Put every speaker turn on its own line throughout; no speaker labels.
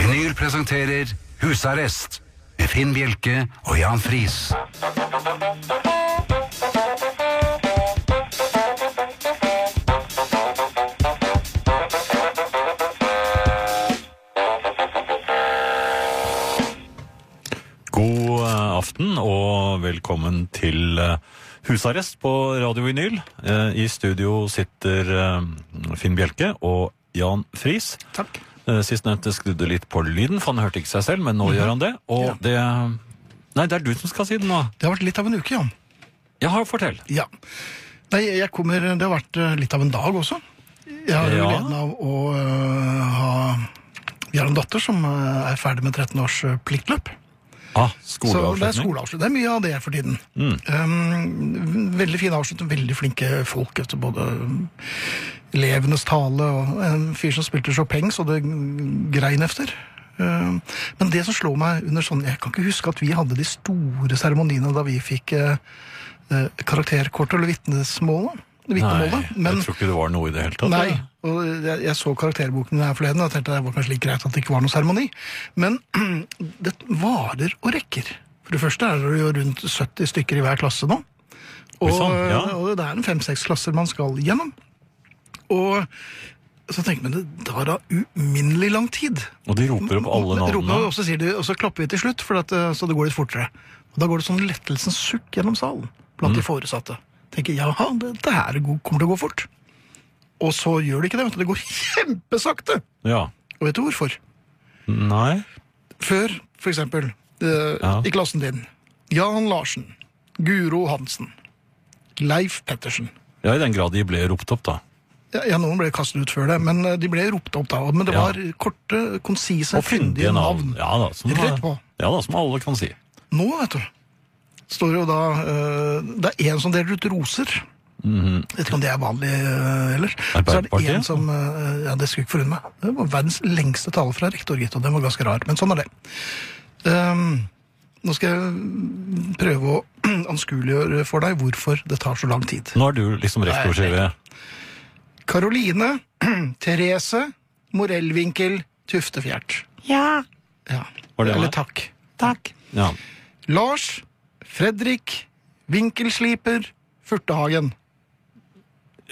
Lyder presenterer Husarrest med Finn Bjelke og Jan Friis.
God eh, aften og velkommen til eh, husarrest på Radio Vinyl. Eh, I studio sitter eh, Finn Bjelke og Jan Friis.
Takk.
Eh, Sistnevnte skrudde litt på lyden, for han hørte ikke seg selv, men nå gjør han det. Og det Nei, det er du som skal si det nå.
Det har vært litt av en uke, Jan.
Ja, fortell.
Ja. Nei, jeg kommer, det har vært eh, litt av en dag også. Jeg har jo
Ja.
gleden av å eh, ha Vi har en datter som eh, er ferdig med 13 års eh, pliktløp.
Ah,
Så det er
skoleavslutning. Mm.
skoleavslutning. Det er mye av det for tiden. Um, veldig fin avslutning. Veldig flinke folk. Etter både elevenes tale og en fyr som spilte Chopin, så det grein efter. Um, men det som slår meg under sånn Jeg kan ikke huske at vi hadde de store seremoniene da vi fikk eh, eh, karakterkortet eller vitnesmålet.
Nei,
Vitnemålet. Men
jeg tror ikke det var noe i det hele tatt.
Nei,
jeg.
og jeg, jeg så karakterboken din her forleden og tenkte det var kanskje litt greit at det ikke var noen seremoni. Men det varer og rekker. For det første er det jo rundt 70 stykker i hver klasse nå.
Oi,
Og,
sann, ja.
og det er en fem-seks klasser man skal gjennom. Og så tenker man det tar da uminnelig lang tid.
Og de roper opp alle
Men roper,
navnene.
Og så, sier de, og så klapper vi til slutt, for at, eh, så det går litt fortere. Og da går det sånn lettelsens sukk gjennom salen blant
Mm.
de foresatte. Tenker jaha, dette her er god- kommer til å gå fort. Og så gjør det ikke det. vet du, Det går kjempesakte!
Ja.
Og vet du hvorfor?
Nei.
Før, for eksempel, eh,
Ja.
i klassen din Jan Larsen, Guro Hansen, Leif Pettersen.
Ja, i den grad de ble ropt opp, da.
Ja, ja, noen ble kastet ut før det, men eh, de ble ropt opp da. Men det
Ja.
var korte, konsise,
Og fyndige navn. Ja da, som,
Rett på.
ja da, som alle kan si.
Nå, vet du, står jo da eh, Det er en som deler ut roser. Vet ikke om det er vanlig eh, ellers. Så er det
Arbeiderpartiet?
en som eh, Ja, det skulle ikke forundre meg. Det var verdens lengste tale fra rektor, gitt, og den var ganske rar. Men sånn er det. Ehm, nå skal jeg prøve å anskueliggjøre for deg hvorfor det tar så lang tid.
Nå er du liksom rektor, sier vi.
Karoline Therese Morellvinkel Tuftefjert.
Ja,
Ja.
Var det
Eller
meg?
takk.
takk.
Ja.
Lars Fredrik Vinkelsliper Furtehagen.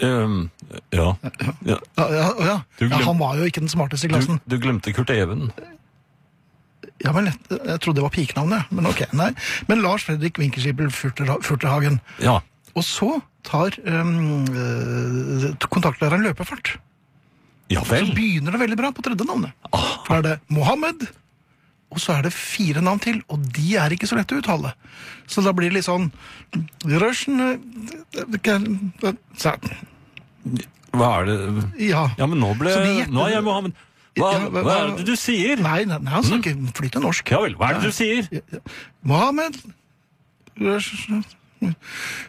Um,
Ehm, ja. ja.
Ja, ja, ja.
Du glem-
ja, han var jo ikke den smarteste i
Du,
klassen.
du glemte Kurt Even.
Ja, men lett- Jeg trodde det var pikenavnet, men ok, nei. Men Lars Fredrik Winkelskipel Furterha- Furterhagen.
Ja.
Og så tar um, eh, kontaktlæreren løpefart.
Ja
Så
vel. Ah.
begynner det veldig bra på tredje navnet. For er det Mohammed, og så er det fire navn til, og de er ikke så lette å uttale. Så da blir det litt sånn Russian eh, eh, eh,
Hva er det
Ja.
Ja, men nå ble
Så de gjetter-
Nå er jeg Mohammed. Hva,
Ja, hva-
hva er det du sier?
Nei, nei, nei, han snakker flytende norsk.
Ja vel, hva er det du sier?
Mohammed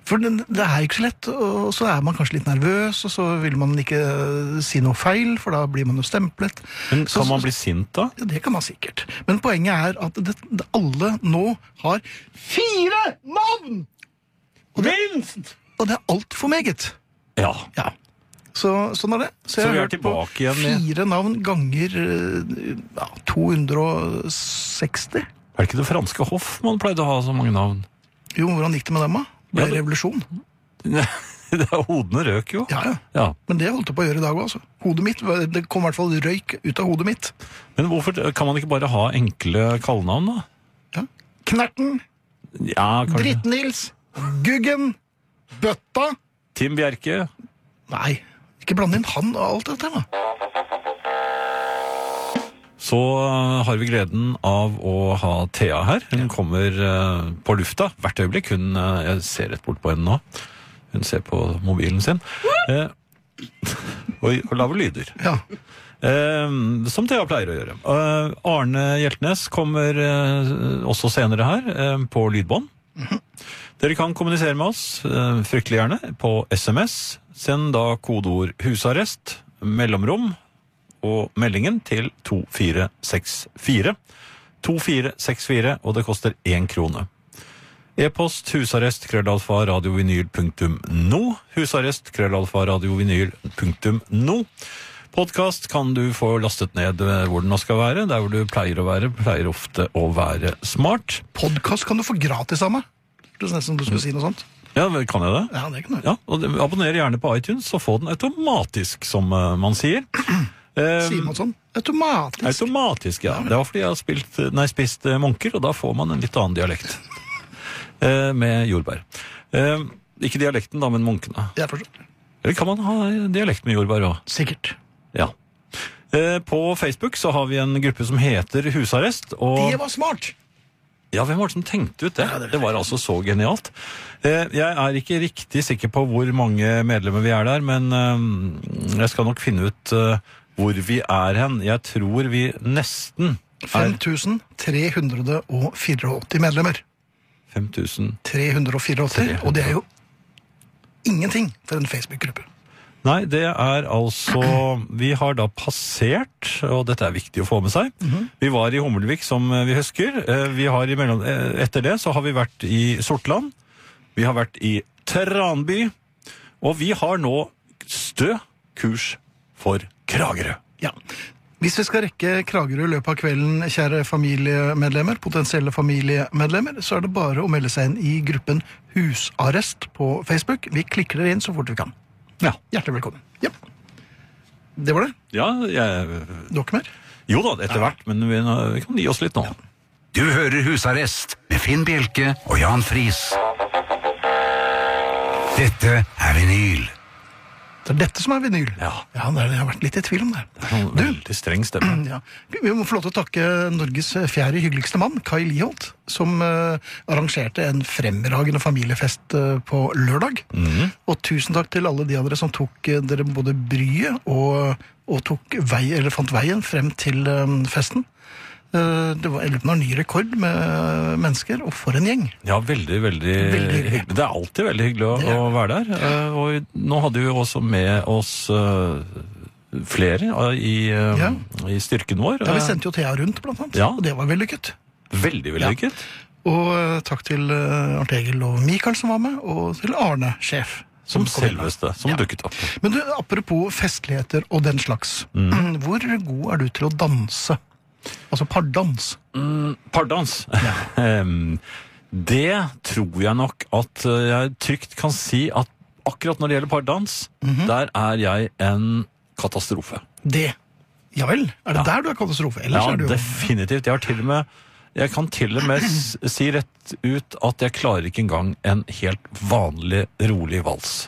For det det er jo ikke så lett, og så er man kanskje litt nervøs, og så vil man ikke si noe feil, for da blir man jo stemplet.
Men
Så-
kan man bli sint da?
Ja, det kan man sikkert. Men poenget er at det, det, alle nå har fire navn!
Minst!
Og det er altfor meget.
Ja.
Ja. Så, sånn er det.
Så
jeg
vi
har
er
hørt
tilbake
på
igjen i-
Fire navn ganger eh, ja,
Er
260.
det ikke det franske hoff man pleide å ha så mange navn?
Jo, hvordan gikk det med dem, da? Ble
Ja,
det
det-
revolusjon?
Det er Hodene røk jo.
Ja, ja.
Ja.
Men det holdt jeg på å gjøre i dag òg. Altså. Hodet mitt, Det kom i hvert fall røyk ut av hodet mitt.
Men hvorfor kan man ikke bare ha enkle kallenavn, da?
Ja. Knerten,
Ja, kanskje
Dritt-Nils, Guggen, Bøtta
Tim Bjerke.
Nei, ikke blande inn han og alt dette. da.
Så eh, har vi gleden av å ha Thea her. Hun kommer eh, på lufta hvert øyeblikk. Hun, eh, jeg ser rett bort på henne nå. Hun ser på mobilen sin. Eh, og, og lager lyder.
Ja.
Eh, som Thea pleier å gjøre. Eh, Arne Hjeltnes kommer eh, også senere her, eh, på lydbånd. Dere kan kommunisere med oss, eh, fryktelig gjerne, på SMS. Send da kodeord 'husarrest', mellomrom og meldingen til 2464. 2464, og det koster én krone. E-post husarrest krøllalfa radiovinyl punktum no. Husarrest krøllalfa radiovinyl punktum no. Podkast kan du få lastet ned eh, hvor den nå skal være. Der hvor du pleier å være, pleier ofte å være smart.
Podkast kan du få gratis av meg. Hørtes nesten som du skulle si noe sånt.
Ja, vel, kan jeg det?
Ja, det kan du.
Ja, og det- Abonner gjerne på iTunes, og få den automatisk, som eh, man sier. Eh,
Sier man sånn? Automatisk.
Automatisk, ja. Det var fordi jeg har spilt, nei, spist eh, munker, og da får man en litt annen dialekt. Eh, med jordbær. Eh, ikke dialekten, da, men munkene.
Jeg forstår.
Eller kan man ha dialekt med jordbær òg?
Sikkert.
Ja. Eh, på Facebook så har vi en gruppe som heter Husarrest. Og
Det var smart!
ja, hvem var det som tenkte ut det?
Ja, det
det,
vet
var altså så genialt. Eh, jeg er ikke riktig sikker på hvor mange medlemmer vi er der, men eh, jeg skal nok finne ut eh, hvor vi er hen. Jeg tror vi nesten er
5384 medlemmer.
5000
384, og det er jo ingenting for en Facebook-gruppe.
Nei, det er altså Vi har da passert, og dette er viktig å få med seg. Vi var i Hummelvik, som eh, vi husker. Eh, Vi har i mellom, eh, etter det så har vi vært i Sortland. Vi har vært i Tranby. Og vi har nå stø kurs for Kragerø.
Ja. Hvis vi skal rekke Kragerø i løpet av kvelden, kjære familiemedlemmer, potensielle familiemedlemmer, så er det bare å melde seg inn i gruppen Husarrest på Facebook. Vi klikker dere inn så fort vi kan.
Ja.
Hjertelig velkommen. Ja. Det var det.
ja jeg,
Du har ikke mer?
jo da, etter hvert, men vi, nå- vi kan gi oss litt nå.
Du hører Husarrest med Finn Bjelke og Jan Friis. Dette er vinyl.
Det er dette som er vinyl.
Ja.
ja det er, jeg har vært litt i tvil om det.
Sånn
Du,
Veldig streng stemme.
Ja. Vi må få lov til å takke Norges fjerde hyggeligste mann, Kai Liholt, som eh, arrangerte en fremragende familiefest eh, på lørdag.
Mhm.
Og tusen takk til alle de av dere som tok eh, dere både bryet og, og tok vei, eller fant veien frem til eh, festen. Eh, det var 11 ny rekord med eh, mennesker, og for en gjeng.
Ja, veldig, veldig,
Veldig hyggelig.
hyggelig. Det er alltid veldig hyggelig å,
Det er
å være der. Eh, og i- nå hadde vi jo også med oss eh, flere eh, i, eh,
Ja.
i styrken vår.
Ja, vi
Eh,
sendte jo Thea rundt, blant annet,
Ja.
og det var vellykket.
Veldig vellykket.
Og eh, takk til eh, Arnt Egil og Mikael som var med, og til Arne, sjef.
Som
kom inn.
selveste som dukket opp.
Men du, apropos festligheter og den slags.
Mm.
Hvor god er du til å danse? Altså pardans.
Mm, pardans. Em, det tror jeg nok at eh, jeg trygt kan si at akkurat når det gjelder pardans, der er jeg en katastrofe.
Det. Ja vel? Er det
Ja.
der du er katastrofe? Ellers
Ja,
er du jo
definitivt. Jeg har til og med jeg kan til og med s- si rett ut at jeg klarer ikke engang en helt vanlig, rolig vals.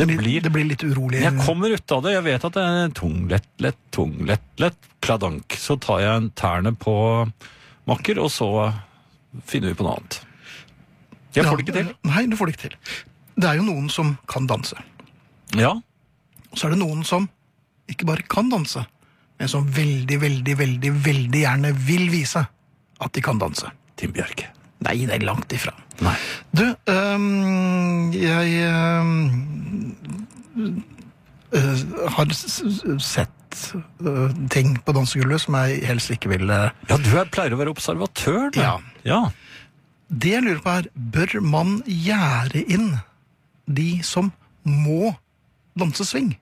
Det blir
det blir litt urolig.
Jeg kommer ut av det. Jeg vet at det er tung, lett, lett, tung, lett, lett, kladank. Så tar jeg en tærne på makker, og så finner vi på noe annet. Jeg får det ikke til.
Nei, du får det ikke til. Det er jo noen som kan danse.
Ja.
Og så er det noen som ikke bare kan danse, men som veldig, veldig, veldig, veldig gjerne vil vise at de kan danse.
Tim Bjerke.
Nei, det er langt ifra.
Nei.
Du, øhm, jeg øhm, øh, har s s sett øh, ting på dansegulvet som jeg helst ikke ville
Ja, du er, pleier å være observatør, du.
Ja.
ja.
Det jeg lurer på er, bør man gjære inn de som må danse sving?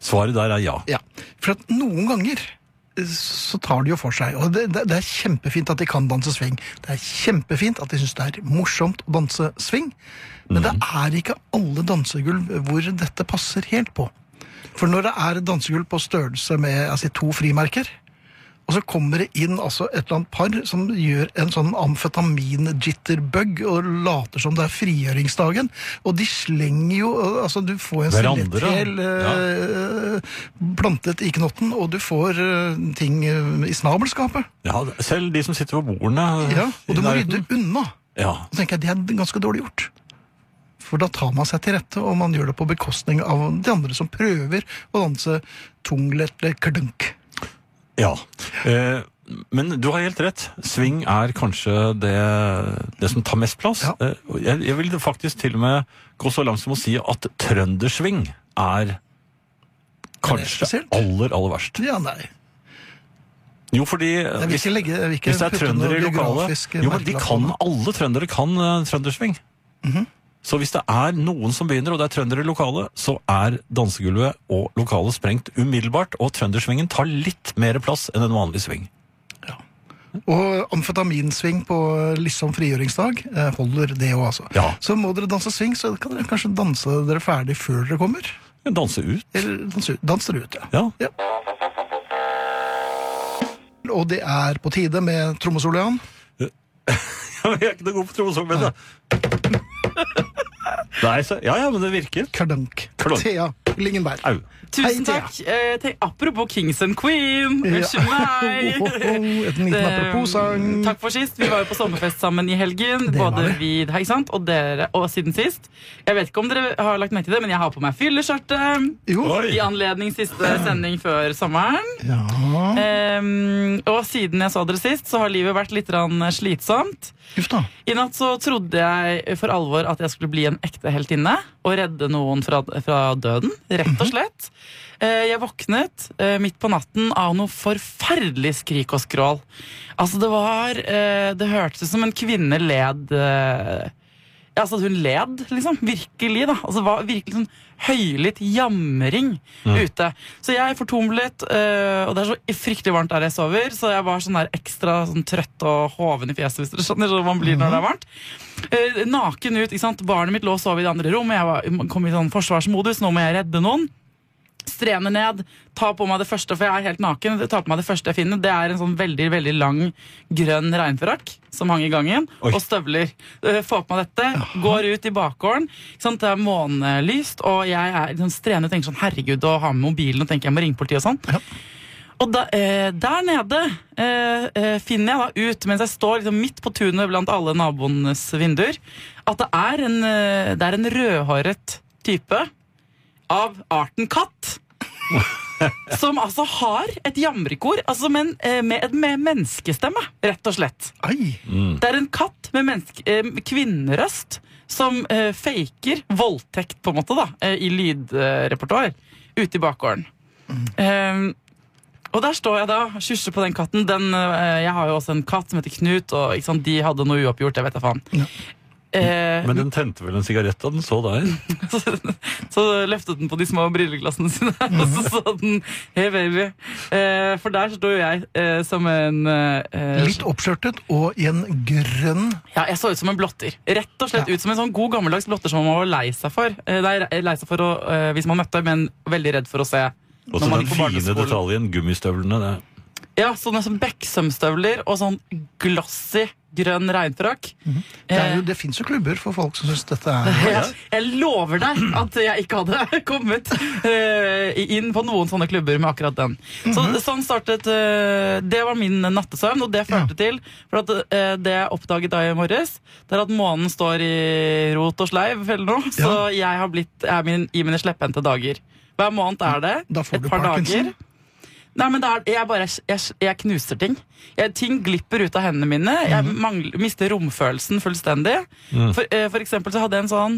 Svaret der er ja.
Ja, for at noen ganger eh, så tar de jo for seg, og det, det, det er kjempefint at de kan danse sving. Det er kjempefint at de synes det er morsomt å danse sving, men det er ikke alle dansegulv hvor dette passer helt på. For når det er et dansegulv på størrelse med altså, to frimerker, og så kommer det inn altså, et eller annet par som gjør en sånn amfetamin-jitterbug og later som det er frigjøringsdagen, og de slenger jo eh, altså, Du får en
Hverandre,
sillettel
ja.
eh, plantet i knotten, og du får eh, ting eh, i snabelskapet.
ja. Selv de som sitter på bordene
Ja, og du
Mm. i
må
nærheten.
rydde unna.
Ja.
Og tenker jeg, Det er ganske dårlig gjort. For da tar man seg til rette, og man gjør det på bekostning av de andre som prøver å danse tungletle klunk.
Ja. Eh, men du har helt rett. Sving er kanskje det, det som tar mest plass.
Ja.
Eh, og jeg, jeg vil faktisk til og med gå så langt som å si at trøndersving er kanskje
spesielt?
aller, aller verst.
Ja, nei.
Jo, fordi eh,
Jeg vil
hvis,
ikke legge, jeg vil ikke
hvis det er
putte
trøndere
noe
i lokalet
geografisk
Jo, men de
merkelapp på
kan,
det. Mhm.
alle trøndere kan eh, trøndersving. Så hvis det er noen som begynner, og det er trøndere i lokalet, så er dansegulvet og lokalet sprengt umiddelbart, og trøndersvingen tar litt mer plass enn en vanlig sving.
Og amfetaminsving på liksom frigjøringsdag eh, holder det òg, altså.
Ja.
Så må dere danse sving, så kan dere kanskje danse dere ferdig før dere kommer.
Danse ut.
Eller danse ut. Dans dere ut, ja.
Ja,
Og det er på tide med trommesolo, Jan.
jeg er ikke noe god på trommesang, men da. Nei, så, ja, ja, men det virker.
Kardank.
Kardank.
Thea Lingenberg.
Au.
Hei,
Tusen
Thea.
takk. Eh, tenk, apropos Kings and Queen. Unnskyld meg.
Ho, ho, ho. Et liten
Det-
apropos-sang.
Takk for sist. Vi var jo på sommerfest sammen i helgen.
Det var
Både vi her, ikke sant? og dere. Og siden sist. Jeg vet ikke om dere har lagt merke til det, men jeg har på meg fylleskjørtet.
Jo.
Oi.
I anledning siste sending før sommeren.
Ja.
Ehm, og siden jeg så dere sist, så har livet vært litt grann slitsomt.
Uff da.
I natt så trodde jeg for alvor at jeg skulle bli en ekte heltinne og redde noen fra, fra døden, rett og slett. Eh, Jeg våknet eh, midt på natten av noe forferdelig skrik og skrål. Altså, det var eh, Det hørtes ut som en kvinne led eh, ja, altså at hun led, liksom. Virkelig, da. Altså, det var virkelig sånn høylytt jamring ute. Så jeg fortumlet, eh, og det er så fryktelig varmt der jeg sover, så jeg var sånn der ekstra sånn trøtt og hoven i fjeset, hvis dere skjønner hvordan man blir når det er varmt. Eh, naken ut, ikke sant. Barnet mitt lå og sov i det andre rommet, jeg var, kom i sånn forsvarsmodus, nå må jeg redde noen. Strener ned, ta på meg det første, for jeg er helt naken. Ta på meg det første jeg finner. Det er en sånn veldig veldig lang, grønn regnfrakk som hang i gangen.
Oi.
Og støvler. Eh, Få på meg dette, går ut i bakgården. Ikke sant? Det er månelyst, og jeg er liksom strener og tenker sånn herregud, og har med mobilen og tenker jeg må ringe politiet og sånn.
Ja.
Og da, eh, der nede eh, eh, finner jeg da ut, mens jeg står liksom midt på tunet blant alle naboenes vinduer, at det er en, eh, det er en rødhåret type av arten katt. Som altså har et jamrekor, altså men, eh, med, et- med menneskestemme, rett og slett.
Ai.
Det er en katt med menneske, eh, kvinnerøst som eh, faker voldtekt, på en måte, da, eh, i lydrepertoar ute i bakgården. Eh, og der står jeg da, kysser på den katten. Den, eh, jeg har jo også en katt som heter Knut, og ikke sant, de hadde noe uoppgjort, jeg vet da faen.
Ja.
Eh,
Men den tente vel en sigarett da den så deg?
så, så løftet den på de små brilleglassene sine, og så sa den 'Hei, baby'. Eh, for der sto jo jeg eh, som en eh,
Litt oppskjørtet og i en grønn
Ja, jeg så ut som en blotter. Rett og slett
Ja.
ut som en sånn god gammeldags blotter som man var lei seg for. Eh, Nei, lei seg for å, eh, hvis man møtte, men veldig redd for å se.
Og så
når man
den
gikk på
fine
barneskolen.
detaljen, gummistøvlene. Det.
Ja, sånne som Beksømstøvler og sånn glossy grønn regnfrakk.
Mhm. Det, er
Eh,
jo- det fins jo klubber for folk som syns dette er
jeg, jeg lover deg at jeg ikke hadde kommet eh, inn på noen sånne klubber med akkurat den. Så, Sånn startet eh, Det var min nattesøvn, og det førte til For at eh, det jeg oppdaget da i morges, det er at månen står i rot og sleiv eller noe. Så jeg har blitt er min, i mine slepphendte dager. Hver måned er det.
Da får
et
du
par
Parkinson.
dager. Nei, men det er, jeg, bare, jeg, jeg knuser ting. Jeg, ting glipper ut av hendene mine. Jeg
Mhm.
mangler, mister romfølelsen fullstendig.
Mm.
For, eh, for eksempel så hadde jeg en sånn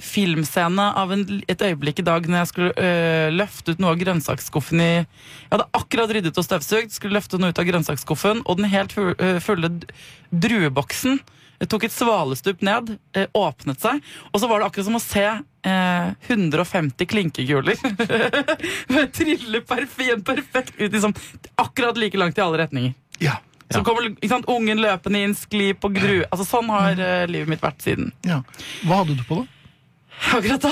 filmscene av en, et øyeblikk i dag når jeg skulle eh, løfte ut noe av grønnsaksskuffen i Jeg hadde akkurat ryddet og støvsugd, skulle løfte noe ut av grønnsaksskuffen, og den helt fu- eh, fulle d- drueboksen jeg tok et svalestup ned, eh, åpnet seg, og så var det akkurat som å se eh, 150 klinkekuler trille perfekt, perfekt ut, liksom, akkurat like langt i alle retninger.
Ja.
Så kommer ikke sant, ungen løpende inn, skli på gru. Altså, sånn har eh, livet mitt vært siden.
ja. Hva hadde du på da?
Akkurat da.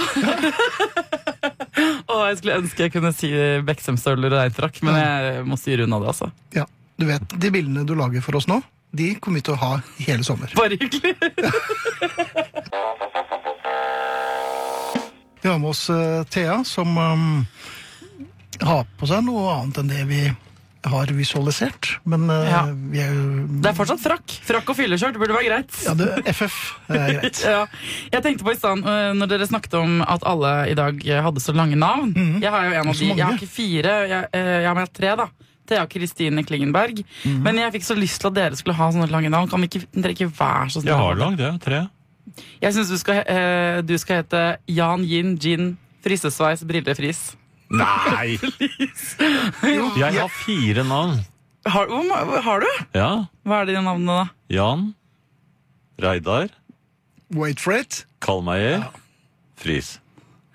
og jeg skulle ønske jeg kunne si Beksem-støvler og reintrakk, men jeg må styre unna det, altså.
Ja, du vet, De bildene du lager for oss nå, de kommer vi til å ha i hele sommer.
Bare hyggelig.
Vi har med oss eh, Thea, som um, har på seg noe annet enn det vi har visualisert. Men eh,
Ja.
vi er jo
Det er fortsatt frakk. Frakk og fylleskjørt burde være greit.
ja, det, FF er greit.
Ja, jeg tenkte på i stand, Når dere snakket om at alle i dag eh, hadde så lange navn Jeg har jo en av
Så
de, jeg har
mange.
ikke fire, jeg, eh, jeg har med tre da Thea Kristine Klingenberg Men jeg fikk så lyst til at dere skulle ha sånne lange navn Kan vi ikke, dere ikke være så
Jeg
snille?
har lagd det, tre.
Jeg synes du skal, eh, du skal hete Jan Yin Jin Frissesveis Brillefris
Nei!
Jo,
Jeg
ja,
har fire navn.
har, hvor ma- har du?
Ja.
Hva er de navnene da?
Jan. Reidar.
Wait for it.
Kallmeier. Friis.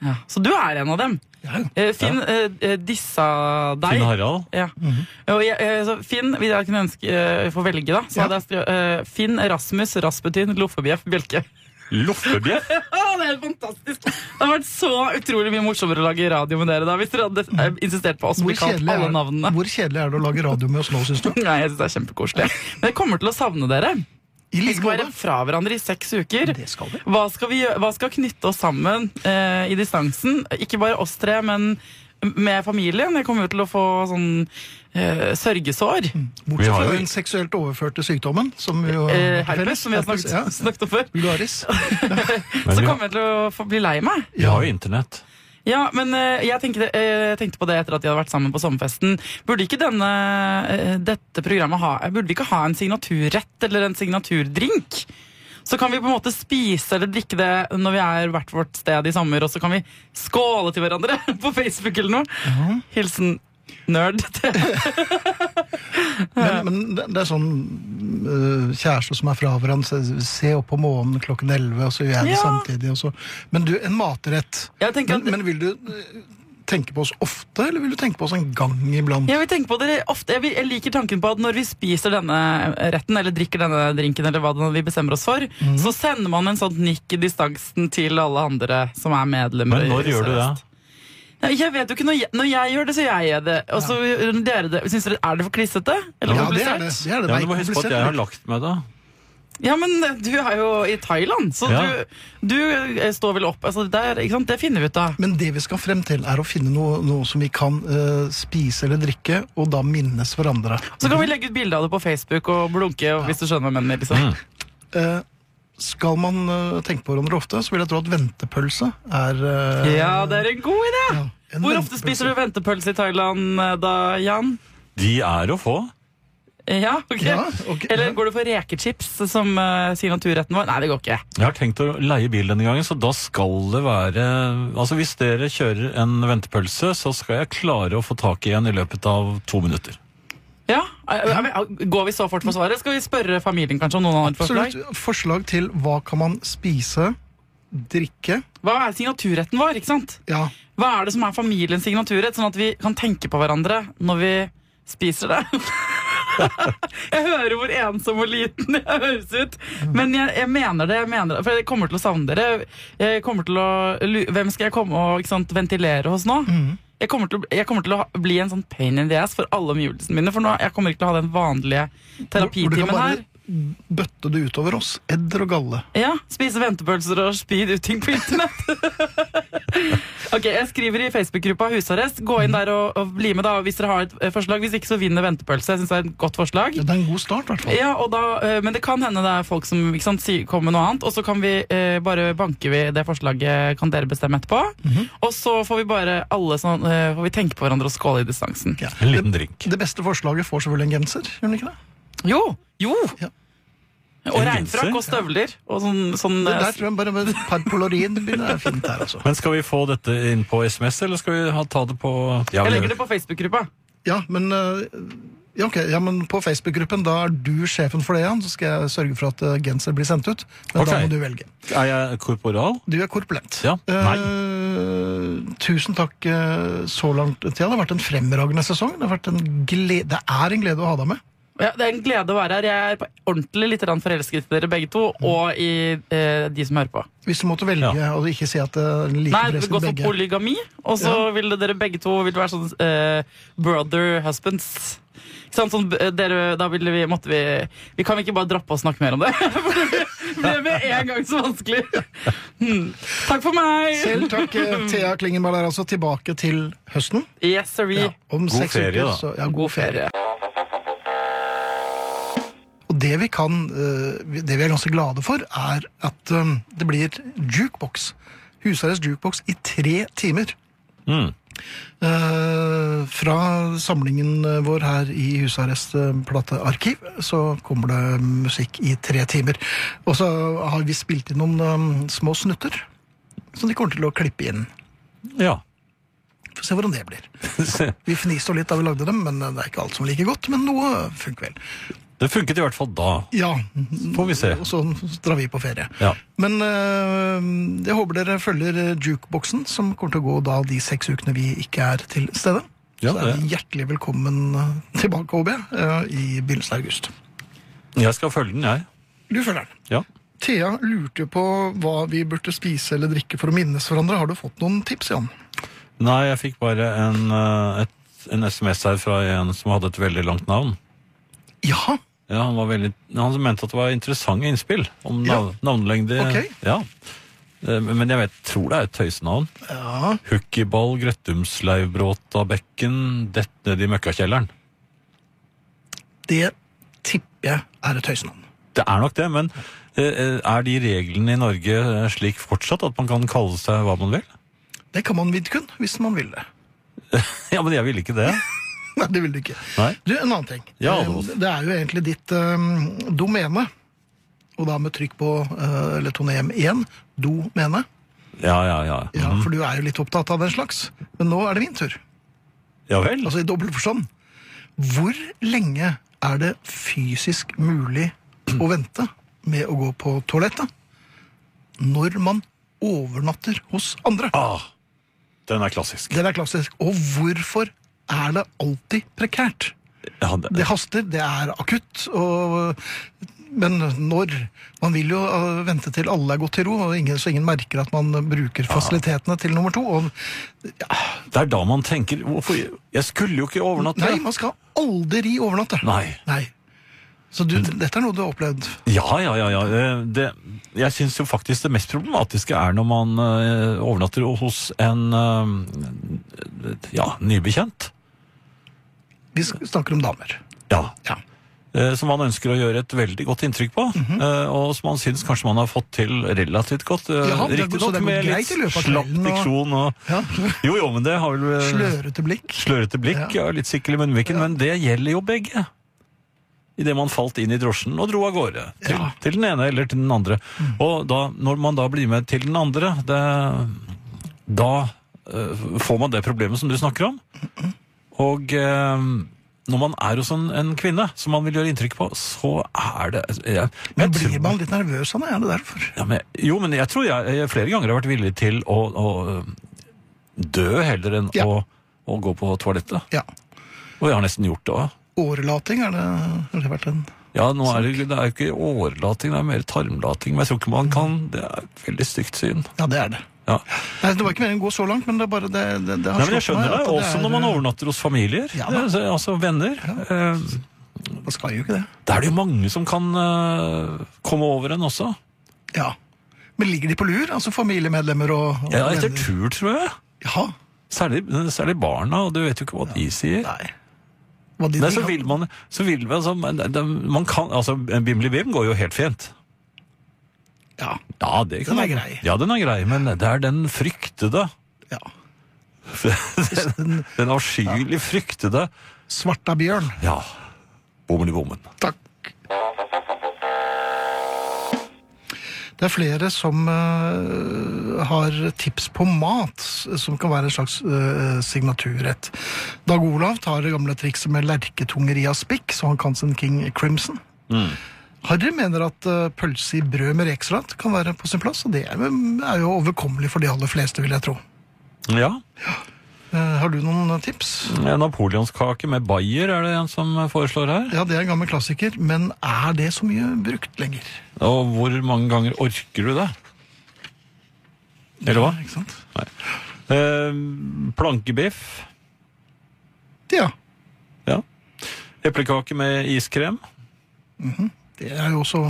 Ja. Så du er en av dem.
Ja, ja.
Eh, Finn eh, eh, dissa deg.
Finn Harald.
Ja.
Mhm.
Og jeg, eh, så Finn, hvis jeg kunne ønske eh, få velge, da, så
Ja.
hadde jeg skrevet eh, Finn, Rasmus, Rasputin, Loffebjeff, Bjelke.
Loffebjeff.
Å, det er helt fantastisk! Det har vært så utrolig mye morsommere å lage radio med dere da, hvis dere hadde eh, insistert på oss å
Mm. Hvor
bli kalt
kjedelig,
alle
er,
navnene.
hvor kjedelig er det å lage radio med oss nå, syns du?
Nei, jeg synes det er kjempekoselig. Men jeg kommer til å savne dere.
I
Vi
like
skal
måte.
være fra hverandre i seks uker.
Det skal vi.
Hva skal, vi, gjø- hva skal knytte oss sammen eh, i distansen? Ikke bare oss tre, men med familien. Jeg kommer jo til å få sånn eh, sørgesår.
Vi
Bortsett
har
fra
jo-
den seksuelt overførte sykdommen, som vi jo
Eh,
har
herpes,
felles.
som vi har
Herpes,
snakket, snakket om før.
Ja. Luaris.
Men
Så
vi,
kommer jeg til å få bli lei meg.
vi har jo internett.
Ja, men eh, jeg tenkte, eh, jeg tenkte på det etter at de hadde vært sammen på sommerfesten. Burde ikke denne, eh, dette programmet ha, burde vi ikke ha en signaturrett eller en signaturdrink? Så kan vi på en måte spise eller drikke det når vi er hvert vårt sted i sommer, og så kan vi skåle til hverandre på Facebook eller noe. Hilsen nerd.
Men, men det det er sånn øh, kjæreste som er fra hverandre, se, se opp på månen klokken 11, og så gjør jeg det
Ja.
samtidig. Og så. Men du, en matrett.
Jeg tenker
Men,
at...
men vil du øh, tenke på oss ofte, eller vil du tenke på oss en gang iblant?
Jeg vil tenke på dere ofte, jeg, vil, jeg liker tanken på at når vi spiser denne retten, eller drikker denne drinken, eller hva det nå vi bestemmer oss for,
Mhm.
så sender man en sånn nikk i distansen til alle andre som er medlemmer.
Men når
i
gjør du det?
Sør-Øst. Nei, Jeg vet jo ikke, når jeg, når jeg gjør det, så gjør jeg det. Og så gjør dere det. Synes dere, er det for klissete? Eller
Ja, det er
komplisert?
det. det, er det.
Ja,
det er
men du må huske på at
komplisert.
jeg har lagt meg, da.
Ja, men eh, du er jo i Thailand, så
Ja.
du, du eh, står vel opp. Altså, der, ikke sant? Det finner vi ut av.
Men det vi skal frem til, er å finne noe, noe som vi kan øh, spise eller drikke, og da minnes hverandre.
Så
Mhm.
kan vi legge ut bilde av det på Facebook og blunke, hvis du skjønner hva jeg mener. Liksom.
Mm.
Eh, skal man øh, tenke på hverandre ofte, så vil jeg tro at ventepølse er øh,
Ja, det er en god idé!
ja, en
Hvor
ventepølse.
ofte spiser du ventepølse i Thailand eh, da, Jan?
De er å få.
Eh, Ja, ok.
Ja, ok.
Eller går du for rekechips som uh, signaturretten vår? Nei, det går ikke.
Jeg har tenkt å leie bil denne gangen, så da skal det være Altså Hvis dere kjører en ventepølse, så skal jeg klare å få tak i en i løpet av to minutter.
Ja, eh, eh, men, Går vi så fort for svaret? Skal vi spørre familien kanskje om noen har et forslag?
Absolutt. Forslag til hva kan man spise, drikke
Hva er signaturretten vår? ikke sant?
Ja,
Hva er det som er familiens signaturrett, sånn at vi kan tenke på hverandre når vi spiser det? jeg hører hvor ensom og liten jeg høres ut, men jeg, jeg mener det. jeg mener det, For jeg kommer til å savne dere. Jeg kommer til å, lu- hvem skal jeg komme og ikke sant, ventilere hos nå?
Mm.
Jeg, kommer til, å- jeg kommer til å ha- bli en sånn pain in the ass for alle omgivelsene mine. For nå, jeg kommer ikke til å ha den vanlige
Hvor du kan
terapitimen
bare
her.
bøtte det utover oss. Edder og galle.
Ja, Spise ventepølser og spy ut ting på internett. ok, Jeg skriver i Facebook-gruppa Husarrest. Gå inn der og, og bli med da hvis dere har et eh, forslag. Hvis ikke så vinner ventepølse. Jeg synes det er et godt forslag.
Ja, Det er en god start, i hvert fall.
Ja, og da, eh, Men det kan hende det er folk som ikke sant, sier- kommer med noe annet. Og så kan vi eh, bare banke vi det forslaget kan dere bestemme etterpå.
Mhm.
Og så får vi bare alle sånn, eh, får vi tenke på hverandre og skåle i distansen.
Ja.
En liten
Det,
drink.
det beste forslaget får selvfølgelig en genser, gjør den ikke det?
Jo! Jo!
Ja.
Og
En
regnfrakk
genser?
og støvler. Og sånn, sånn
Det
eh,
der tror jeg bare med et par polarin det er fint der, altså.
Men skal vi få dette inn på SMS, eller skal vi ha, ta det på ja,
Jeg
vi
legger
gjør
det på Facebook-gruppa.
Ja, men øh, ja, ok, ja, men på Facebook-gruppen, da er du sjefen for det, Jan. Så skal jeg sørge for at øh, genser blir sendt ut. Men
Ok.
da må du velge.
Er jeg korporal?
Du er korpulent.
Ja. Nei.
Eh, tusen takk eh, så langt, Thea. Det har vært en fremragende sesong. Det, har vært en glede, det er en glede å ha deg med.
Ja, det er en glede å være her. Jeg er på ordentlig litt grann forelsket i dere begge to,
Mm.
og i eh, de som hører på.
Hvis du måtte velge og ikke si at det liker
Nei,
dere
det
som
går for
begge.
polygami, og så ville dere begge to ville være sånn eh, brother husbands. Ikke sant? Sånn, eh, dere, da ville vi, måtte vi Vi kan ikke bare droppe å snakke mer om det. For det ble med en gang så vanskelig. Hmm. Takk for meg!
Selv takk. eh, Thea Klingenberg er altså tilbake til høsten.
Yes, sorry.
Ja, om
God
seks
ferie,
uker,
da.
Så, ja,
God ferie.
Og det vi kan, eh, vi- det vi er ganske glade for, er at eh, det blir jukebox. Husarrest jukebox i tre timer.
Mm.
Eh, fra samlingen eh, vår her i Husarrest eh, platearkiv så kommer det musikk i tre timer. Og så har vi spilt inn noen eh, små snutter som de kommer til å klippe inn.
Ja.
Får se hvordan eh, det blir. Vi fniste jo litt da vi lagde dem, men det er ikke alt som er like godt. Men noe funker vel.
Det funket i hvert fall da.
Ja.
Får vi se.
Og så drar vi på ferie.
Ja.
Men eh, jeg håper dere følger eh, jukeboksen, som kommer til å gå da de seks ukene vi ikke er til stede.
Ja,
så er
det.
vi hjertelig velkommen eh, tilbake, håper jeg, eh, i begynnelsen av august.
Jeg skal følge den, jeg.
Du følger den.
Ja.
Thea lurte jo på hva vi burde spise eller drikke for å minnes hverandre. Har du fått noen tips, Jan?
Nei, jeg fikk bare en, eh, et, en SMS her fra en som hadde et veldig langt navn.
Ja.
Ja, Han, var veldig, han mente at det var interessante innspill om
Ja.
nav, navnelengde.
Ok.
Ja. Eh, Men jeg vet, tror det er et tøysenavn.
Ja.
Hukkiball, Grøttumsleivbråtabekken, dett ned i møkkakjelleren.
Det tipper jeg er et høysnavn.
Det er nok det, men eh, eh, er de reglene i Norge eh, slik fortsatt at man kan kalle seg hva man vil?
Det kan man vidkun, hvis man vil det.
Ja, men jeg ville ikke det.
Nei, det vil du ikke.
Nei.
Du, en annen ting.
Ja,
Eh,
Adolf.
det er jo egentlig ditt eh, domene. Og da med trykk på eh, eller tonem 1, domene.
Ja, ja, ja.
Ja,
Mhm.
For du er jo litt opptatt av den slags. Men nå er det min tur.
ja vel.
Altså i dobbel forstand. Hvor lenge er det fysisk mulig å vente med å gå på toalettet? Når man overnatter hos andre.
Ah, den er klassisk.
Den er klassisk. Og hvorfor er det alltid prekært?
Ja, det,
Det haster, det er akutt, og, men når? Man vil jo øh, vente til alle er gått til ro, og ingen, så ingen merker at man bruker fasilitetene til nummer to. Og,
det er da man tenker Hvorfor? Jeg skulle jo ikke overnatte.
nei, man skal aldri overnatte.
Nei.
Så du, dette er noe du har opplevd.
Ja, ja, ja. ja. eh, Det, jeg syns jo faktisk det mest problematiske er når man eh, overnatter hos en eh, ja, nybekjent.
Vi sk- snakker om damer.
Ja.
Ja.
Eh, Som man ønsker å gjøre et veldig godt inntrykk på,
Mhm.
eh, og som man syns kanskje man har fått til relativt godt. eh,
Ja, det er
riktig
godt, så
godt,
det er
med
godt
litt
greit i løpet av
slapp
kvelden, og-
diksjon og
Ja.
Jo, jo, men det har vel eh,
Slørete blikk.
slørete blikk, ja. litt sikkel i munnviken, men det gjelder jo begge. Idet man falt inn i drosjen og dro av gårde. Til,
Ja. Mm.
til den ene eller til den andre. Og da, når man da blir med til den andre, det, da eh, får man det problemet som du snakker om. Og eh, når man er hos en, en kvinne som man vil gjøre inntrykk på, så er det jeg, jeg
Men blir
tror-
man litt nervøs av det? Er det derfor?
ja, men, jo, men jeg tror jeg, jeg flere ganger har vært villig til å, å dø heller enn
Ja.
å, å gå på toalettet.
Ja.
Og jeg har nesten gjort det òg.
Årelating, er det, har det vært en
Ja, nå er det, det er jo ikke årelating, det er mer tarmlating. Men jeg tror ikke man kan Det er et veldig stygt syn.
Ja, det er det.
Ja.
Nei, det var ikke meningen å gå så langt, men det er bare det, det, det har
Nei, men jeg
slått meg
skjønner det.
at
Også når man
er- eh,
overnatter hos familier,
Ja,
eh,
da.
så- altså venner. eh,
Man skal jo ikke det.
Da er det jo mange som kan eh, komme over en også.
Ja. Men ligger de på lur? Altså familiemedlemmer og, og
Ja, etter
venner?
tur, tror jeg.
Ja,
Særlig, særlig barna, og du vet jo ikke hva de sier.
nei. Hva de
Nei,
vil
så
ha.
vil man, så vil man, altså, men det- det- man kan, altså, Bimli-bim går jo helt fint.
Ja,
Ja, det kan
Den er
man-
grei.
Ja, den er grei, men det er den fryktede.
ja.
den, den avskyelig fryktede.
Svarta bjørn.
Ja, bommen i bommen.
Takk. Det er flere som eh, har tips på mat, s- som kan være en slags eh, signaturrett. Dag Olav tar det gamle trikset med lerketunger i aspik, så han kan sin King Crimson. Harry mener at eh, pølse i brød med rekesalat kan være på sin plass, og det er er jo overkommelig for de aller fleste, vil jeg tro.
Ja,
Eh, Har du noen eh, tips?
en napoleonskake med bayer er det en som foreslår her.
Ja, det er en gammel klassiker, men er det så mye brukt lenger?
Og hvor mange ganger orker du det? Eller hva?
Ikke sant?
Eh, plankebiff.
Ja,
Ja. Eplekake med iskrem.
det er jo også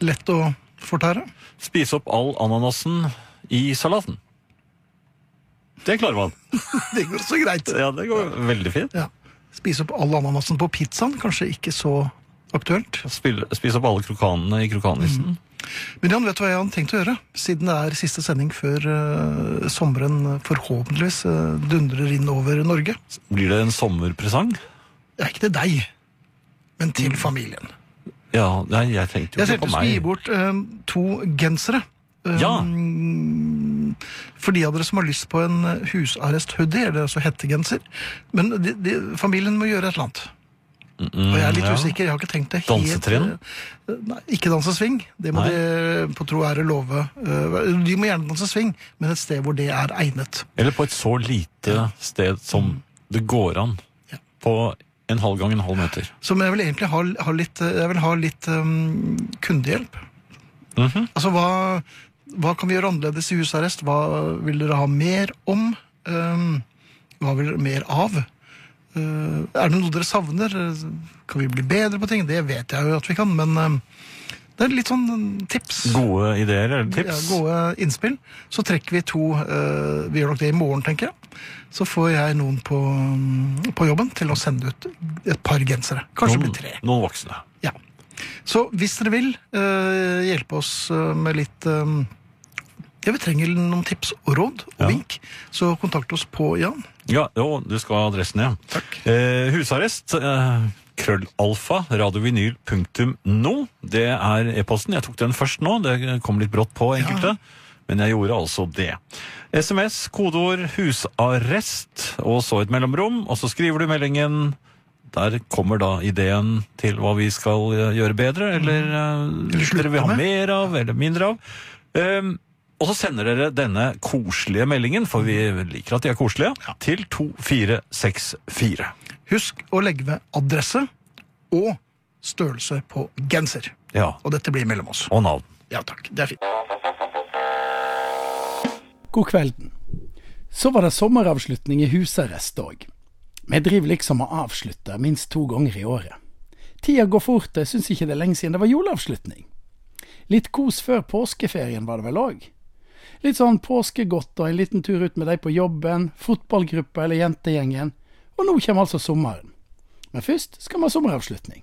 lett å fortære.
Spise opp all ananasen i salaten. Det klarer man.
Det går så greit.
Ja, det går veldig fint.
Ja. Spise opp all ananasen på pizzaen, kanskje ikke så aktuelt.
Spille, spise opp alle krokanene i krokanisen.
Men Jan, vet du hva jeg hadde tenkt å gjøre? Siden det er siste sending før eh, sommeren eh, forhåpentligvis eh, dundrer inn over Norge.
Blir det en sommerpresang?
Det er ikke til deg, men til familien.
Ja, nei, jeg tenkte Mm. jo
Jeg
ikke på
ser til å gi
meg.
bort eh, to gensere. Eh,
Ja.
For de av dere som har lyst på en eh, husarrest-hoodie, eller altså hettegenser. Men de, de, familien må gjøre et eller annet. Og jeg er litt
Mm, ja.
usikker, jeg har ikke tenkt det helt.
Dansetrinn?
Eh, Nei, ikke danse swing. Det må
Nei.
de på tro ære love. Eh, De må gjerne danse swing, men et sted hvor det er egnet.
Eller på et så lite sted som det går an.
Ja.
På en halv gang en halv meter.
Som jeg vil egentlig ha, ha litt, eh, jeg vil ha litt eh, kundehjelp.
Mhm.
Altså, hva, hva kan vi gjøre annerledes i husarrest? Hva vil dere ha mer om? Eh, hva vil dere mer av? Eh, er det noe dere savner? Kan vi bli bedre på ting? Det vet jeg jo at vi kan, men eh, det er litt sånn eh, tips.
Gode ideer eller tips?
Ja, gode innspill. Så trekker vi to eh, Vi gjør nok det i morgen, tenker jeg. Så får jeg noen på, mm, på jobben til å sende ut et par gensere. Kanskje det blir tre.
Noen voksne.
Ja. Så hvis dere vil eh, hjelpe oss eh, med litt eh, ja, Vi trenger noen tips og råd og
Ja.
vink, så kontakt oss på Jan.
Ja, jo, du skal ha adressen, ja.
Takk.
Eh, husarrest. Eh, Krøllalfa, radiovinyl.no. Det er e-posten. Jeg tok den først nå. Det kom litt brått på enkelte. Men jeg gjorde altså det. SMS, kodeord 'husarrest' og så et mellomrom. Og så skriver du meldingen. Der kommer da ideen til hva vi skal eh, gjøre bedre, eller, eh,
Eller Mm. slutte
dere vil ha
med.
mer av, eller mindre av. Ehm, og så sender dere denne koselige meldingen, for vi liker at de er koselige, til 2464.
Husk å legge ved adresse og størrelse på genser.
Ja,
Og dette blir mellom oss.
og navn.
Ja takk. Det er fint.
God kvelden. Så var det sommeravslutning i husarrest òg. Vi driver liksom og avslutter minst to ganger i året. Tida går fort, og jeg syns ikke det er lenge siden det var juleavslutning. Litt kos før påskeferien var det vel òg. Litt sånn påskegodt og en liten tur ut med de på jobben, fotballgruppa eller jentegjengen. Og nå kommer altså sommeren. Men først skal vi ha sommeravslutning.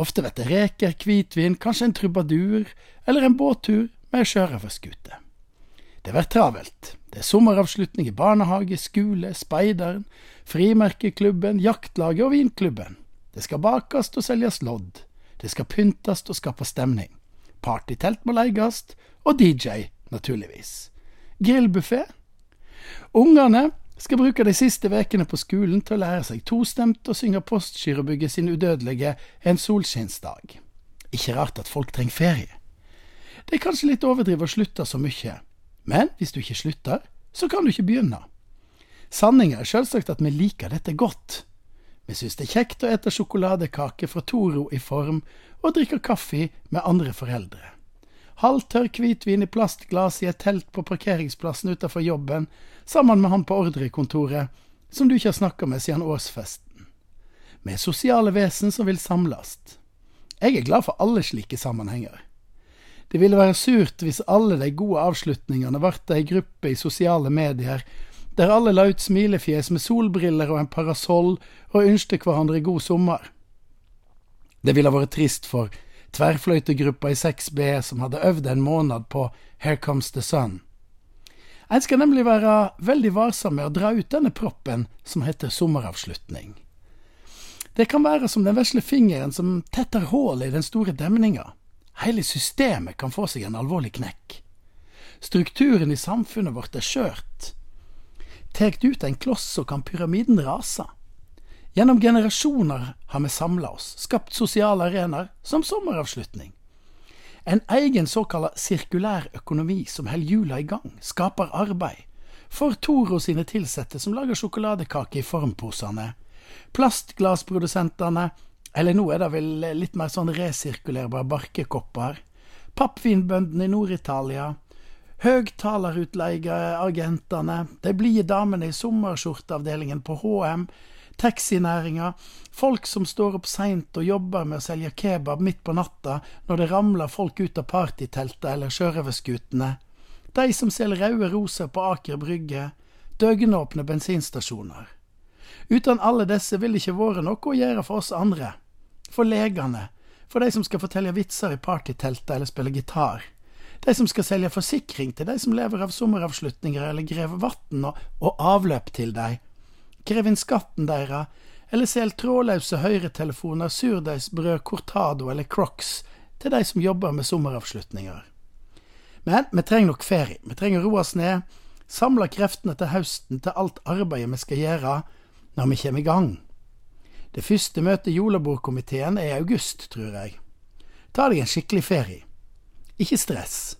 Ofte blir det reker, hvitvin, kanskje en trubadur, eller en båttur med ei sjørøverskute. Det blir travelt. Det er sommeravslutning i barnehage, skole, speideren, frimerkeklubben, jaktlaget og vinklubben. Det skal bakes og selges lodd. Det skal pyntes og skapes stemning. Partytelt må leies, og DJ, naturligvis. Grillbuffé? Ungene skal bruke de siste ukene på skolen til å lære seg tostemt og synge Postgirobygget sin udødelige En solskinnsdag. Ikke rart at folk trenger ferie. Det er kanskje litt overdrivet å slutte så mye, men hvis du ikke slutter, så kan du ikke begynne. Sanninga er selvsagt at vi liker dette godt. Vi syns det er kjekt å ete sjokoladekake fra Toro i form, og drikke kaffe med andre foreldre. Halvtørr hvitvin i plastglass i et telt på parkeringsplassen utenfor jobben, sammen med han på ordrekontoret, som du ikke har snakka med siden årsfesten. Vi er sosiale vesen som vil samles. Jeg er glad for alle slike sammenhenger. Det ville være surt hvis alle de gode avslutningene ble ei gruppe i sosiale medier, der alle la ut smilefjes med solbriller og en parasoll og ønskte hverandre god sommer. Det ville vært trist for tverrfløytegruppa i 6B som hadde øvd en måned på Here Comes the Sun. En skal nemlig være veldig varsom med å dra ut denne proppen som heter sommeravslutning. Det kan være som den vesle fingeren som tetter hullet i den store demninga. Hele systemet kan få seg en alvorlig knekk. Strukturen i samfunnet vårt er skjørt. Tek du ut en kloss, så kan pyramiden rase. Gjennom generasjoner har vi samla oss, skapt sosiale arenaer som sommeravslutning. En egen såkalla sirkulær økonomi som holder hjula i gang, skaper arbeid. For Toro sine ansatte som lager sjokoladekake i formposene. Plastglassprodusentene, eller nå er det vel litt mer sånn resirkulerbare barkekopper. Pappvinbøndene i Nord-Italia. Høgtalerutleieagentene, de blide damene i sommerskjorteavdelingen på HM, taxinæringa, folk som står opp seint og jobber med å selge kebab midt på natta når det ramler folk ut av partyteltet eller sjørøverskutene, de som selger røde roser på Aker Brygge, døgnåpne bensinstasjoner. Uten alle disse vil det ikke vært noe å gjøre for oss andre. For legene. For de som skal fortelle vitser i partyteltet eller spille gitar. De som skal selge forsikring til de som lever av sommeravslutninger eller graver vann og, og avløp til dem. Krev inn skatten deres, eller selg trådløse høyretelefoner, surdeigsbrød, cortado eller crocs til de som jobber med sommeravslutninger. Men vi trenger nok ferie. Vi trenger å roe oss ned, samle kreftene til høsten til alt arbeidet vi skal gjøre når vi kommer i gang. Det første møtet i julebordkomiteen er i august, tror jeg. Ta deg en skikkelig ferie. Ikke stress.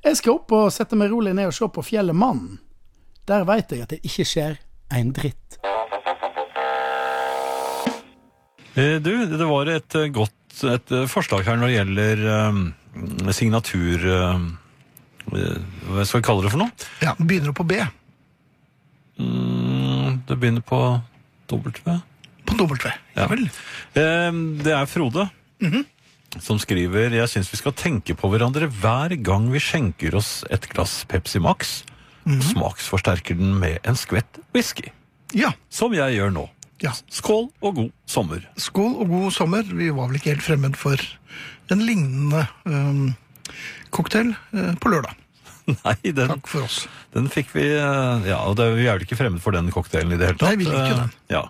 Jeg skal opp og sette meg rolig ned og se på fjellet Mannen. Der veit jeg at det ikke skjer en dritt.
Eh, Du, det var et eh, godt et eh, forslag her når det gjelder eh, signatur... eh, eh, Hva skal vi kalle det for noe?
Ja, Begynner på B.
Mm, Det begynner på W.
På W. Ja vel. Mhm.
Eh, Det er Frode som skriver Jeg syns vi skal tenke på hverandre hver gang vi skjenker oss et glass Pepsi Max.
Mhm.
Smaksforsterker den med en skvett whisky.
Ja.
Som jeg gjør nå.
ja.
Skål og god sommer.
Skål og god sommer. Vi var vel ikke helt fremmed for en lignende øhm, cocktail øh, på lørdag.
Nei, den,
Takk for oss.
den fikk vi eh, Ja, og det, vi er vel ikke fremmed for den cocktailen i det hele tatt.
Nei, vi liker
Eh,
den.
Ja.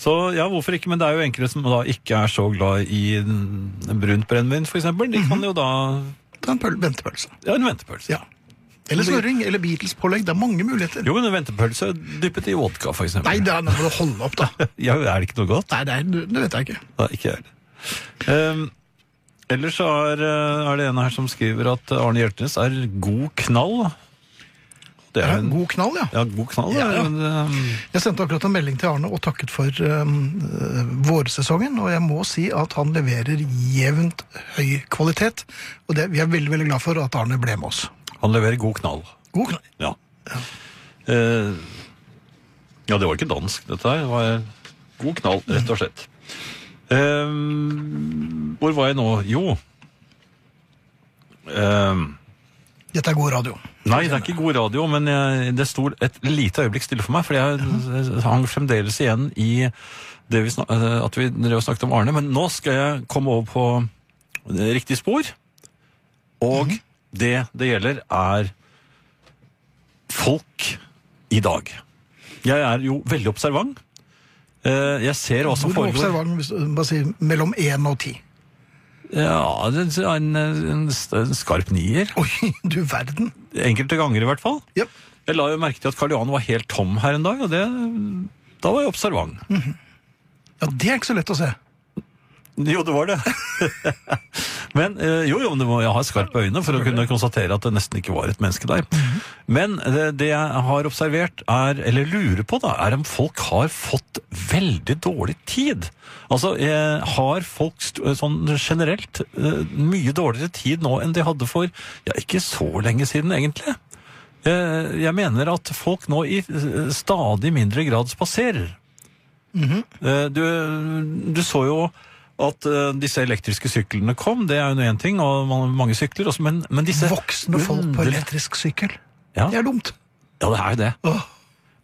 Så ja, hvorfor ikke? Men det er jo enkelte som da ikke er så glad i mm, brunt brennevin, f.eks. De kan jo da
Ta en pøl ventepølse.
Ja, en ventepølse.
Mhm. Ja. Eller snurring, eller Beatles-pålegg. Det er mange muligheter.
Jo, men en ventepølse dyppet i vodka, f.eks.
Nei, det er, nå må du holde opp, da.
Ja, er det ikke noe godt?
Nei, det, er, det vet jeg ikke.
Nei, ikke jeg heller. Um, ellers så er, eh, er det en her som skriver at Arne Hjeltnes er god knall. Det
Ja,
er en,
god knall, ja.
ja, god knall.
Ja,
er
ja.
en, eh,
Jeg sendte akkurat en melding til Arne og takket for øhm, øh, vårsesongen. Og jeg må si at han leverer jevnt høy kvalitet. Og det, vi er veldig veldig glad for at Arne ble med oss.
han leverer god knall.
God knall.
Ja. Eh, ja, det var ikke dansk, dette her. Det var god knall, rett og slett. Um, hvor var jeg nå? Jo um,
Dette er god radio.
Nei, det er ikke god radio, men jeg, det sto et lite øyeblikk stille for meg, for jeg jeg hang fremdeles igjen i det vi snak, eh, at vi drev og snakket om Arne, men nå skal jeg komme over på eh, riktig spor, og
Mhm.
det det gjelder er folk i dag. Jeg er jo veldig observant. Eh, Jeg ser hva som
Hvor
foregår.
observant hvis du bare sier mellom 1 og 10?
Ja, det er en, en, en skarp nier.
Oi, du verden.
Enkelte ganger i hvert fall.
Ja.
Jeg la jo merke til at Karl Johan var helt tom her en dag, og det, da var jeg observant.
ja, det er ikke så lett å se.
Jo, det var det. men eh, jo, jo, men du må jo ha skarpe øyne for å kunne konstatere at det nesten ikke var et menneske der. Men eh, det jeg har observert, er, eller lurer på, da, er om folk har fått veldig dårlig tid. Altså, eh, har folk st sånn generelt eh, mye dårligere tid nå enn de hadde for ja, ikke så lenge siden, egentlig? Eh, Jeg mener at folk nå i eh, stadig mindre grad spaserer.
Mhm.
Eh, Du, du så jo at eh, disse elektriske syklene kom, det er jo én ting, og man- mange sykler også, men, men disse
Voksne folk på
underlig-
elektrisk sykkel.
Ja.
Det er dumt.
Ja, det er jo det.
Åh,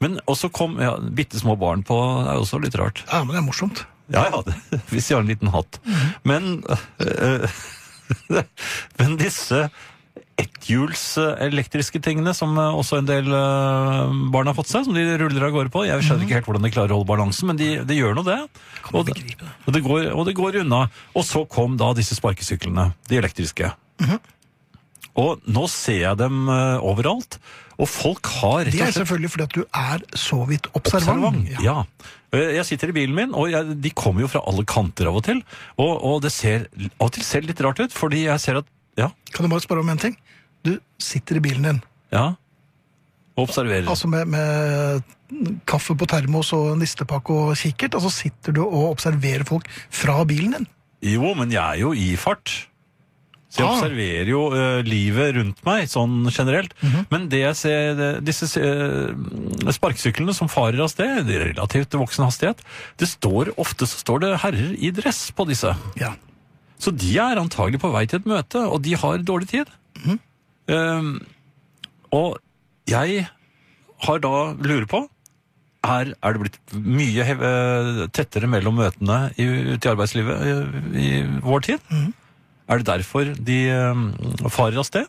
Men også kom ja, bitte små barn på, det er jo også litt rart.
ja, men det er morsomt.
Ja, ja, det, hvis de har en liten hatt. Men, eh, men disse etthjuls eh, elektriske tingene som eh, også en del eh, barn har fått seg, som de ruller av gårde på. Jeg skjønner ikke helt hvordan de klarer å holde balansen, men de, de gjør nå det. Og, det-
begripe det.
og, det går, og det går unna. Og så kom da disse sparkesyklene, de elektriske.
Mhm.
Og nå ser jeg dem eh, overalt, og folk har rett
Det
og
er
slett
selvfølgelig fordi at du er så vidt observant.
observant.
Ja.
Ja. Eh, Jeg sitter i bilen min, og jeg, de kommer jo fra alle kanter av og til. Og, og det ser av og til ser det litt rart ut, fordi jeg ser at Ja.
Kan du bare spørre om en ting? Du sitter i bilen din,
ja Observerer.
altså med, med kaffe på termos og nistepakke og kikkert, og så sitter du og observerer folk fra bilen din.
jo, men jeg er jo i fart. Så jeg
Ah.
observerer jo eh, livet rundt meg, sånn generelt.
Mhm.
Men det jeg ser, det- disse eh, sparkesyklene som farer av sted, i relativt voksen hastighet, det står ofte så står det herrer i dress på disse.
Ja.
Så de er antagelig på vei til et møte, og de har dårlig tid. Ehm, og jeg har da lurer på er, er det blitt mye hev, eh, tettere mellom møtene i, ute i arbeidslivet eh, i vår tid? Er det derfor de eh, farer av sted?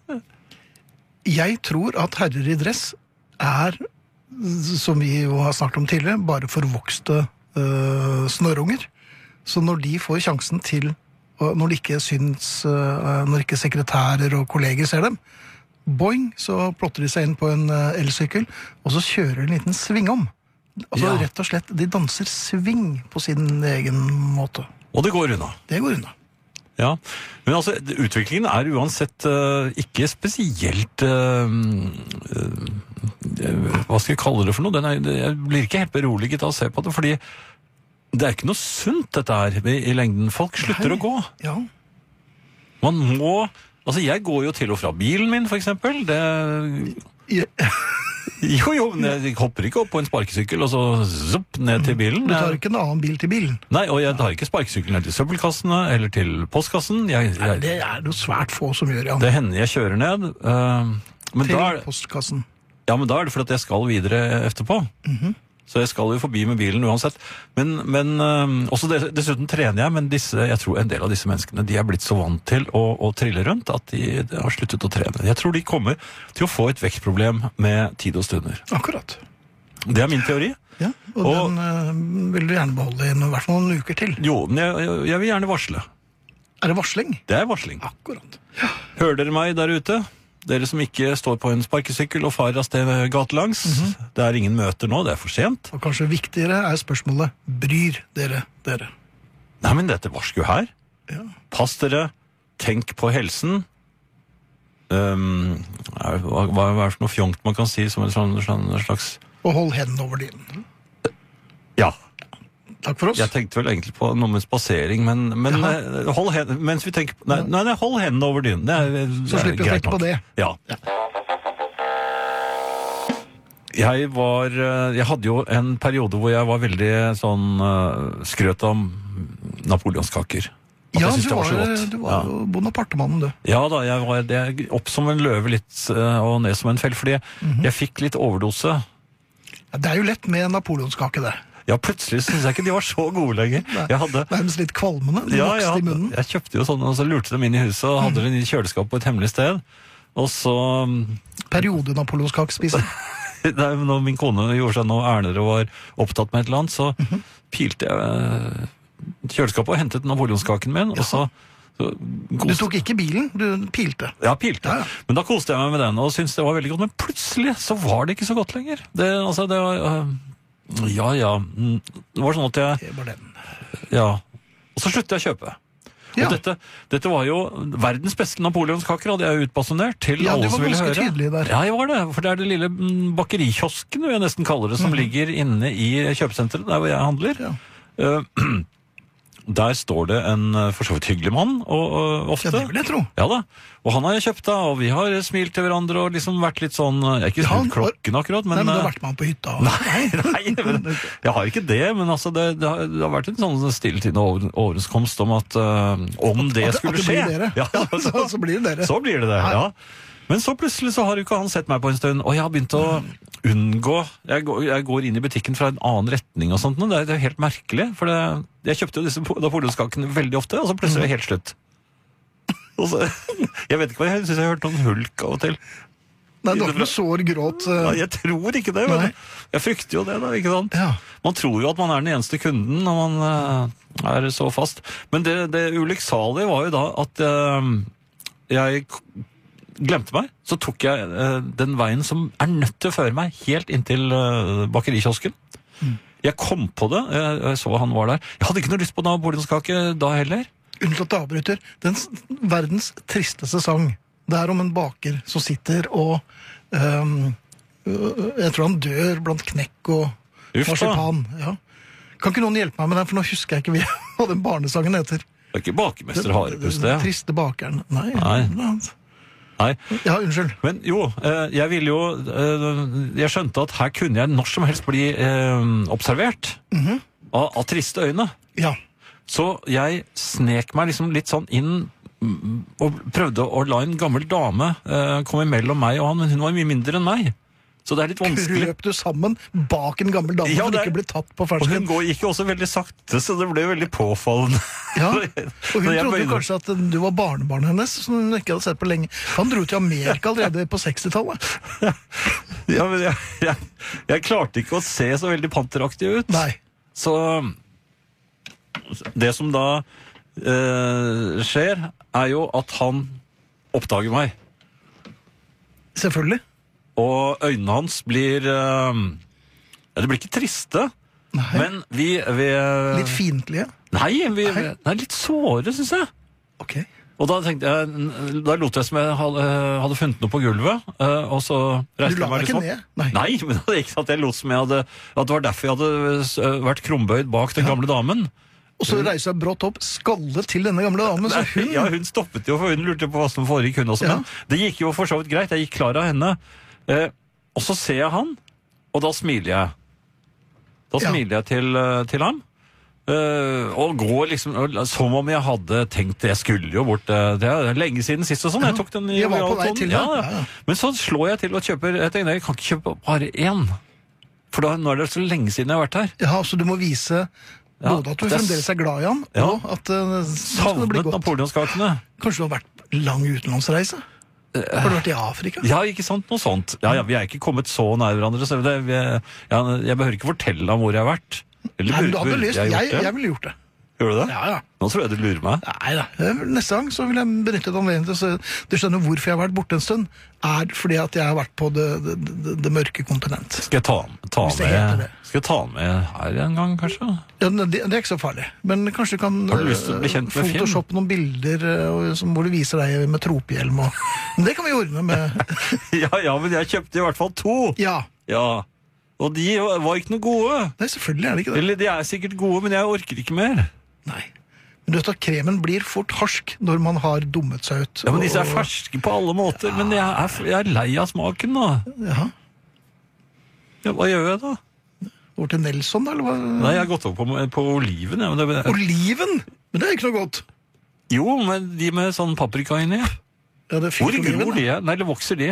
Jeg tror at herrer i dress er, som vi jo har snakket om tidligere, bare forvokste øh, snørrunger. Så når de får sjansen til og Når de ikke syns øh, Når ikke sekretærer og kolleger ser dem, boing, så plotter de seg inn på en øh, elsykkel, og så kjører de en liten svingom Altså,
Ja.
Rett og slett, De danser swing på sin egen måte.
Og det går unna.
Det går unna.
Ja, Men altså, utviklingen er uansett eh, ikke spesielt eh, eh, Hva skal jeg kalle det for noe? Den er, jeg blir ikke hepperoliget av å se på det, fordi det er ikke noe sunt, dette her, i, i lengden. Folk slutter å gå.
Ja,
Man må Altså, jeg går jo til og fra bilen min, for eksempel. Det
Ja.
Jo, jo, men jeg hopper ikke opp på en sparkesykkel og så zopp ned til bilen.
Mm. Du tar ikke en annen bil til bilen.
Nei, og jeg tar ikke sparkesykkelen ned til søppelkassene eller til postkassen. Jeg, jeg,
Det er det jo svært få som gjør, ja.
Det hender jeg kjører ned. eh, men, da er
Til
det,
postkassen.
ja, men da er det fordi at jeg skal videre etterpå. Så jeg skal jo forbi med bilen uansett. Men, men eh, også des- dessuten trener jeg, men disse, jeg tror en del av disse menneskene de er blitt så vant til å, å trille rundt at de, de har sluttet å trene. Jeg tror de kommer til å få et vektproblem med tid og stunder.
Akkurat.
Det er min teori.
Ja, og,
Og-
den eh, vil du gjerne beholde i noen- i hvert fall noen uker til.
Jo, men jeg, jeg, jeg vil gjerne varsle.
Er det varsling?
Det er varsling.
Akkurat.
Hører dere meg der ute? Dere som ikke står på en sparkesykkel og farer av sted gatelangs. Det er ingen møter nå, det er for sent.
Og kanskje viktigere er spørsmålet bryr dere dere?
Nei, men dette varsker jo her. Pass dere, tenk på helsen. Ehm, er- hva, hva hva er det for noe fjongt man kan si som en sånn, sånn slags
Og hold hendene over dynen.
Ja.
Takk for oss.
Jeg tenkte vel egentlig på noe med spasering, men, men eh, hold hen, mens vi tenker på- nei, nei, nei, hold hendene over dynen. Det er, det
Så
er
slipper vi å
greit
tenke på
nok.
det.
Ja. Jeg var eh, Jeg hadde jo en periode hvor jeg var veldig sånn eh, Skrøt om napoleonskaker. At
ja,
jeg syntes
du
det
var,
så godt.
du
Ja.
var jo bonapartemannen, du.
Ja da, jeg var jeg, opp som en løve litt eh, og ned som en fell, fordi
Mhm.
jeg fikk litt overdose.
Ja, det er jo lett med napoleonskake, det.
Ja, plutselig syns jeg ikke de var så gode lenger. Jeg hadde
Nærmest litt kvalmende. Den
ja, jeg,
vokste i munnen. Mhm.
hadde- jeg kjøpte jo sånne, og så lurte dem inn i huset og hadde dem i kjøleskapet på et hemmelig sted. Og så mm,
Periode-napoleonskakespiser.
Nei, men når min kone gjorde seg noe ærner og var opptatt med et eller annet, så
Mhm.
pilte jeg eh, kjøleskapet og hentet napoleonskaken min, og så, så
Du
koste,
tok ikke bilen, du pilte.
ja, pilte.
Ja, ja.
Men da koste jeg meg med den og syntes det var veldig godt. Men plutselig så var det ikke så godt lenger. Det, altså, det var eh, Ja ja. mm, Det var sånn at jeg
Det var den.
Ja. Og så sluttet jeg å kjøpe.
Ja,
Og dette, dette var jo verdens beste napoleonskaker, hadde jeg utbasunert til
Ja, du
alle
var
som ville
ganske
høre.
tydelig der.
Ja, jeg var det. For det er det lille mm, bakerikiosken, vil jeg nesten kalle det, som ligger inne i kjøpesenteret, der hvor jeg handler.
Mhm. Ja.
Eh, der står det en eh, for så vidt hyggelig mann, og, og
ja
ofte.
det vil jeg tro.
Ja da, og han har jeg kjøpt av, og vi har smilt til hverandre og liksom vært litt sånn eh, Jeg har ikke
Ja, han
smilt
var-
klokken akkurat,
Nei,
men
men da
eh,
vært man på hytta.
Nei, nei men, jeg har ikke det, men altså det, det, har, det har vært en sånn stilltiende over, overenskomst om at eh, om det
at det
skulle skje
blir dere.
Ja,
Ja,
så,
så- så blir det dere.
Så blir det det,
Ja.
ja. Men så plutselig så har jo ikke han sett meg på en stund, og jeg har begynt å unngå Jeg går, jeg går inn i butikken fra en annen retning og sånt, nå, det er, det er helt merkelig. For det, jeg kjøpte jo disse po- napoleonskakene veldig ofte, og så plutselig er det helt slutt. Og så, jeg vet ikke hva jeg syns jeg har hørt noen hulk av og til.
Nei, det var ikke noe sår gråt. eh,
Nei, jeg tror ikke det, men
Nei.
jeg frykter jo det, da. ikke sant?
Ja.
Man tror jo at man er den eneste kunden når man eh, er så fast. Men det, det ulykksalige var jo da at eh, jeg k- glemte meg. Så tok jeg eh, den veien som er nødt til å føre meg helt inntil eh, bakerikiosken. Jeg kom på det, jeg, jeg så han var der. Jeg hadde ikke noe lyst på napoleonskake da heller.
Unnskyld at jeg avbryter. Den s- verdens tristeste sang. Det er om en baker som sitter og ehm, øh, Jeg tror han dør blant knekk og
Uff da.
marsipan. Ja. Kan ikke noen hjelpe meg med den, for nå husker jeg ikke hva den barnesangen heter.
Det er ikke bakemester Harepust,
Den
det.
triste bakeren. Nei.
Nei. Nei.
Ja, unnskyld.
Men jo, eh, jeg ville jo eh, Jeg skjønte at her kunne jeg når som helst bli eh, observert av, av triste øyne.
Ja.
Så jeg snek meg liksom litt sånn inn mm, og prøvde å la en gammel dame eh, komme mellom meg og han, men hun var mye mindre enn meg. Så det er litt vanskelig.
Løp du sammen bak en gammel dame
Ja,
for
det
å
er-
ikke bli tatt på
Og hun
fersken?
går, gikk jo også veldig sakte, så det ble veldig påfallende.
Ja.
Når jeg-
Og hun
når jeg
trodde
bøyde-
kanskje at du var barnebarnet hennes, som hun ikke hadde sett på lenge. Han dro til Amerika allerede på 60-tallet.
ja, men jeg, jeg, jeg klarte ikke å se så veldig panteraktig ut.
Nei.
Så det som da eh, skjer, er jo at han oppdager meg.
Selvfølgelig.
Og øynene hans blir eh, Ja, det blir ikke triste,
Nei.
men vi, vi eh,
Litt fiendtlige?
Nei, vi, vi
Nei.
nei, litt såre, syns jeg.
Ok.
Og da tenkte jeg, n- da lot jeg som jeg hadde, hadde funnet noe på gulvet, eh, og så
Du
reiste
la
jeg meg
deg
litt
ikke
opp.
ned? Nei.
sånn? Nei, men det er ikke sant. Jeg lot som jeg hadde, at det var derfor jeg hadde s- eh, vært krumbøyd bak den gamle damen.
Og så reiser jeg brått opp, skallet til denne gamle damen, så
Nei,
Altså, hun
Ja, hun stoppet jo, for hun lurte på hva som foregikk hun også.
Ja.
Men det gikk jo for så vidt greit. Jeg gikk klar av henne. Eh, og så ser jeg han, og da smiler jeg. Da
Ja.
smiler jeg til, eh, til ham. Eh, og går liksom og- Som om jeg hadde tenkt Jeg skulle jo bort eh, Det er lenge siden sist og sånn. Jeg tok den i
Jeg var på
lojal
vei
tone.
til det.
ja,
Ja,
ja.
ja.
Men så slår jeg til og kjøper Jeg tenkte jeg kan ikke kjøpe bare én. For da, nå er det så lenge siden jeg har vært her.
Ja, så du må vise
Ja,
både at
at
du
jeg-
fremdeles er glad i han,
Ja.
og at eh, nå skal det
Savnet
bli godt.
napoleonskakene.
Kanskje du har vært på lang utenlandsreise? Har du vært i Afrika?
Ja, ikke sant? Noe sånt. Ja, ja, vi er ikke kommet så nær hverandre, så det, vi, ja, jeg behøver ikke fortelle ham hvor jeg har vært. Eller
Nei, men du
burde-
hadde
burde
lyst.
jeg
Jeg,
gjort
jeg,
det?
ville gjort det.
Gjør du det?
Ja, ja.
Nå tror jeg du lurer meg.
Nei da. Eh, Neste gang så vil jeg benytte et anledning til å se Du skjønner hvorfor jeg har vært borte en stund? Er fordi at jeg har vært på det, det, det, det mørke kontinent.
Skal jeg ta, ta,
Hvis det heter
med,
det.
skal jeg ta med her en gang, kanskje?
Ja, det, det er ikke så farlig. Men kanskje du kan
Har du lyst til å bli kjent med Finn?
photoshoppe noen bilder eh, og- som, hvor du viser deg med tropehjelm og Men det kan vi ordne med
Ja, ja, men jeg kjøpte i hvert fall to.
Ja.
Ja, og de var ikke noe gode.
Nei, selvfølgelig er det ikke det.
Eller de er sikkert gode, men jeg orker ikke mer.
Nei. Men du vet at kremen blir fort harsk når man har dummet seg ut.
Ja, men disse er
og-
ferske på alle måter, men jeg er, jeg er lei av smaken da.
Ja.
Ja, hva gjør jeg da?
Over til Nelson, da, eller hva?
Nei, jeg har gått over på, på oliven. Ja, men det,
Oliven! Men det er ikke noe godt.
Jo, men de med sånn paprika inni.
Ja, det er
Hvor
fint oliven,
gror
da.
de? Nei, eller vokser de?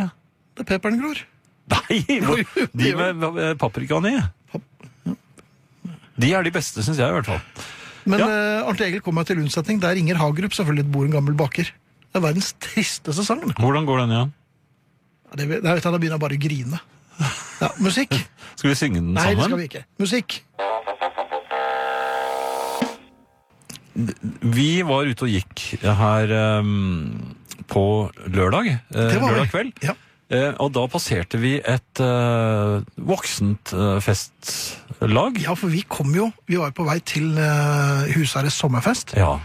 Det er peperen gror.
Nei, hvor, de med eh, paprikaen i. De er de beste, syns jeg i hvert fall.
Men
Ja.
eh, Arnt Egil kom meg til unnsetning. Der ringer Hagerup selvfølgelig bor en gammel baker. Det er verdens triste sesong.
Hvordan går den igjen?
Ja, det, det vet jeg, da begynner jeg bare å grine. Ja, musikk?
Skal vi synge den
Nei, det skal
sammen?
vi ikke. Musikk.
Vi... var ute og gikk her eh, på lørdag, eh,
Det var vel-
lørdag kveld.
Ja.
Eh, og da passerte vi et eh, voksent eh, festlag.
ja, for vi kom jo Vi var jo på vei til uh, Husherres sommerfest,
Ja.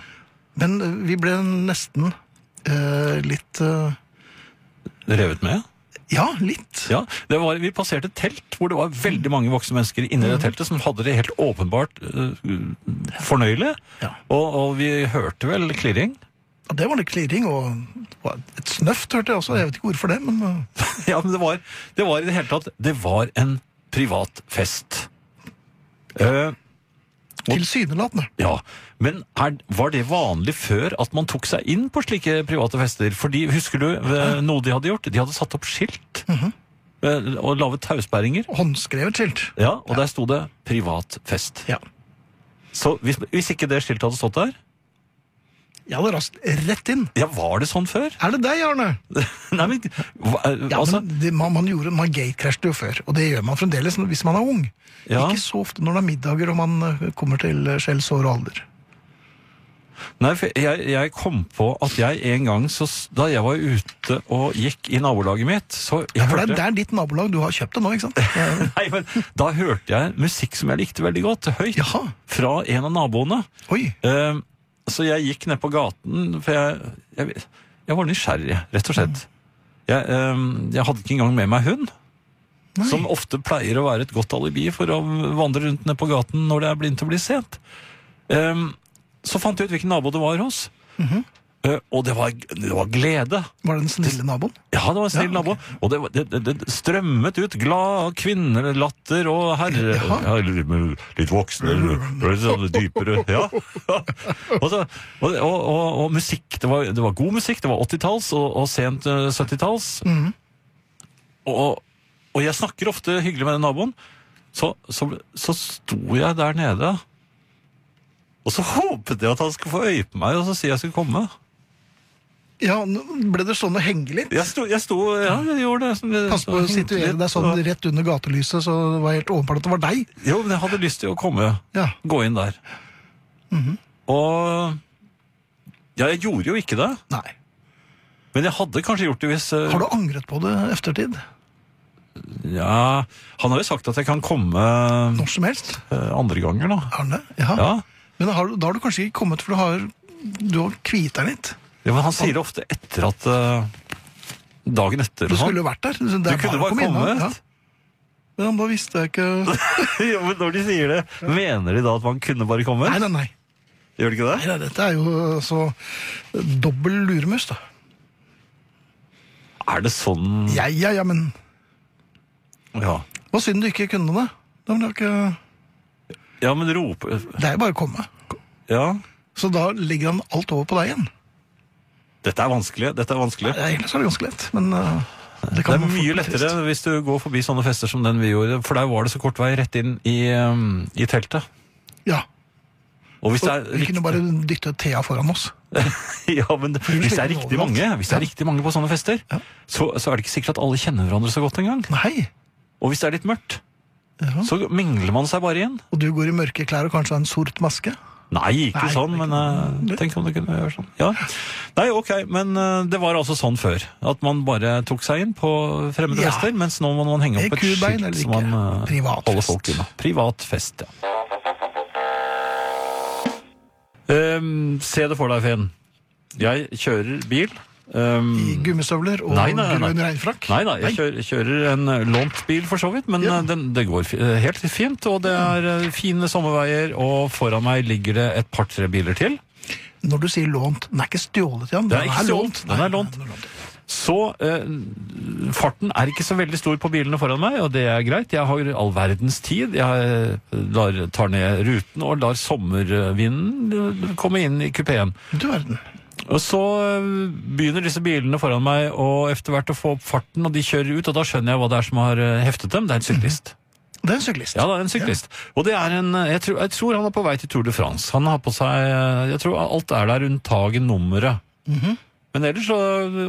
men eh, vi ble nesten eh, litt eh,
Revet med.
Ja, litt.
Ja, det var, Vi passerte et telt hvor det var veldig mange voksne mennesker inni det teltet som hadde det helt åpenbart eh, fornøyelig.
Ja.
Og, og vi hørte vel klirring.
Ja, det var litt klirring og det var et snøft, hørte jeg også. Jeg vet ikke hvorfor det, men eh,
ja, men det var, det var i det hele tatt Det var en privat fest. Eh,
tilsynelatende.
ja, Men er, var det vanlig før at man tok seg inn på slike private fester? Fordi, Husker du eh, noe de hadde gjort? De hadde satt opp skilt. eh, Og laget tausperringer.
Håndskrevet skilt.
Ja, og der sto det 'privat fest'.
Ja.
Så hvis, hvis ikke det skiltet hadde stått der
Jeg hadde rast rett inn.
Ja, var det sånn før?
Er det deg, Arne?
Nei, men, hva,
Ja,
altså,
men det, man, man, gjorde, man gatecrashet jo før, og det gjør man fremdeles når- hvis man er ung.
Ja.
Ikke så ofte når det er middager og man eh, kommer til eh, skjell, sår og alder.
nei, for jeg, jeg kom på at jeg en gang, så, s- da jeg var ute og gikk i nabolaget mitt, så jeg
Ja, for det er,
hørte,
det er ditt nabolag, du har kjøpt det nå, ikke sant? Ja.
nei, men, da hørte jeg musikk som jeg likte veldig godt, høyt,
Jaha.
fra en av naboene.
Oi,
Eh, så jeg gikk ned på gaten, for jeg, jeg, jeg var nysgjerrig, rett og slett. Jeg, eh, jeg hadde ikke engang med meg hund,
Nei.
som ofte pleier å være et godt alibi for å vandre rundt ned på gaten når det er blindt og blir sent. Eh, så fant jeg ut hvilken nabo det var hos. Eh, og det var, det var glede.
var det den snille naboen?
Ja, det var en snill
Ja,
nabo. Og det, var- det, det, det strømmet ut glad kvinnelatter og herre... Ja.
Jaha.
eller med litt voksne, eller litt sånn dypere. Ja. og, så, og, og, og, og musikk. Det var, det var god musikk. Det var 80-talls og, og sent eh, 70-talls.
Mhm.
Og, og jeg snakker ofte hyggelig med den naboen. Så, så, så sto jeg der nede, og så håpet jeg at han skulle få øye på meg og så si jeg skulle komme.
Ja, nå ble det sånn å henge litt?
Jeg sto, jeg sto ja, jeg gjorde det. Sånn,
Pass på å
sånn-
situere deg sånn rett under gatelyset, så det var helt åpenbart at det var deg.
Jo, men jeg hadde lyst til å komme,
Ja,
gå inn der.
Mhm.
Og Ja, jeg gjorde jo ikke det,
nei.
men jeg hadde kanskje gjort det hvis eh,
Har du angret på det eftertid?
Ja, han har jo sagt at jeg kan komme eh,
Når som helst.
andre ganger, da.
Arne? Ja.
Ja.
Men har, du- da har du kanskje ikke kommet, for du har, du har kvita litt.
ja, men han sier det ofte etter at eh, Dagen etter
Du
og sånn.
skulle jo vært der. så det
Du
er
kunne
å
bare
komme innom,
kommet.
Ja. Men da visste jeg ikke Nei,
Ja, men når de sier det, mener de da at man kunne bare komme?
nei, nei.
Gjør de ikke det?
nei, nei dette er jo så dobbel luremus, da.
Er det sånn
Ja, ja, ja, men
Ja,
Hva synd du ikke kunne det. Da må du ikke...
ja men rope
Det er jo bare å komme.
Ja.
Så da legger han alt over på deg igjen.
Dette er vanskelig. Dette er vanskelig.
Ja, Egentlig så er det ganske lett, men uh, det
Det
kan
er
være
mye
fort bli
lettere
trist.
hvis du går forbi sånne fester som den vi gjorde, for der var det så kort vei rett inn i, um, i teltet.
Ja.
Og hvis det er
Og vi kunne bare dytte Thea foran oss.
ja, men hvis det er riktig mange Hvis det er riktig mange på sånne fester,
Ja.
så, så er det ikke sikkert at alle kjenner hverandre så godt engang.
Nei.
Og hvis det er litt mørkt,
Ja.
så mingler man seg bare igjen.
Og du går i mørke klær og kanskje har en sort maske.
Nei, ikke
Nei,
sånn,
det er
men eh, tenk om du kunne gjøre sånn. Ja. Nei, ok, men eh, det var altså sånn før. At man bare tok seg inn på fremmede
Ja.
fester, mens nå må man henge
Med
opp et
kubein
skilt
eller
som
ikke.
man eh,
Privat
holder
fest.
folk unna. Privat fest, ja. Ehm, se det for deg, Finn. Jeg kjører bil. Ehm,
I gummistøvler og
Nei, nei, nei, nei.
grønn regnfrakk.
Nei, nei, jeg kjører, kjører en eh, lånt bil for så vidt, men
Ja.
eh, den, det går fi- eh, helt fint. Og det er eh, fine sommerveier, og foran meg ligger det et par-tre biler til.
Når du sier lånt, den er ikke stjålet igjen.
Den er ikke stjålet, den er
Nei,
lånt.
den er lånt.
Så eh, farten er ikke så veldig stor på bilene foran meg, og det er greit. Jeg har all verdens tid. Jeg eh, lar, tar ned ruten og lar sommervinden eh, komme inn i kupeen.
Du verden.
Og så eh, begynner disse bilene foran meg og etter hvert å få opp farten, og de kjører ut, og da skjønner jeg hva det er som har eh, heftet dem. Det er en syklist.
Det er en syklist.
Ja, det er en syklist. Og det er en eh, jeg tror, jeg tror han er på vei til Tour de France. Han har på seg eh, Jeg tror alt er der unntagen nummeret.
Mhm.
Men ellers så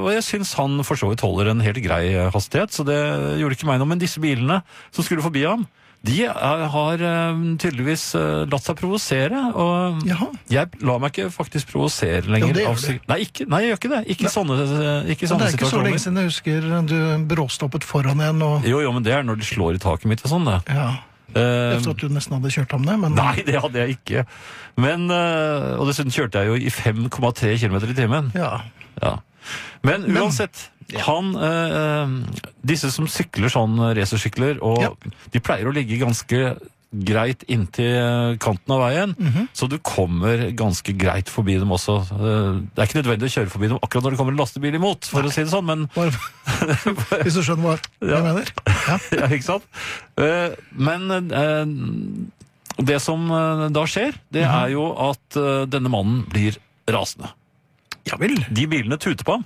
Og jeg syns han for så vidt holder en helt grei eh, hastighet, så det gjorde ikke meg noe. Men disse bilene som skulle forbi ham, de er, har eh, tydeligvis eh, latt seg provosere. Og
Jaha.
jeg lar meg ikke faktisk provosere lenger.
det gjør
av
du.
syk- Nei, ikke, nei, jeg gjør ikke det. Ikke sånne, eh, ikke
Men
sånne
det er ikke så
situasjoner.
lenge siden jeg husker du bråstoppet foran en og
jo, jo, men det er når de slår i taket mitt og sånn, det.
ja,
Eh,
Efter at du nesten hadde kjørt ham ned, men
Nei, det hadde jeg ikke. Men, øh, og dessuten kjørte jeg jo i 5,3 km i timen.
ja.
Ja. Men uansett, han øh, Disse som sykler sånn øh, racersykler, og
Ja.
de pleier å ligge ganske greit inntil øh, kanten av veien,
Mhm.
så du kommer ganske greit forbi dem også. Øh, Det er ikke nødvendig å kjøre forbi dem akkurat når det kommer en lastebil imot, for å si det sånn, men
Bare, hvis du skjønner hva jeg mener. Ja.
ja, ikke sant? Eh, men eh, det som eh, da skjer, det
Mhm.
er jo at eh, denne mannen blir rasende.
ja vel.
De bilene tuter på ham.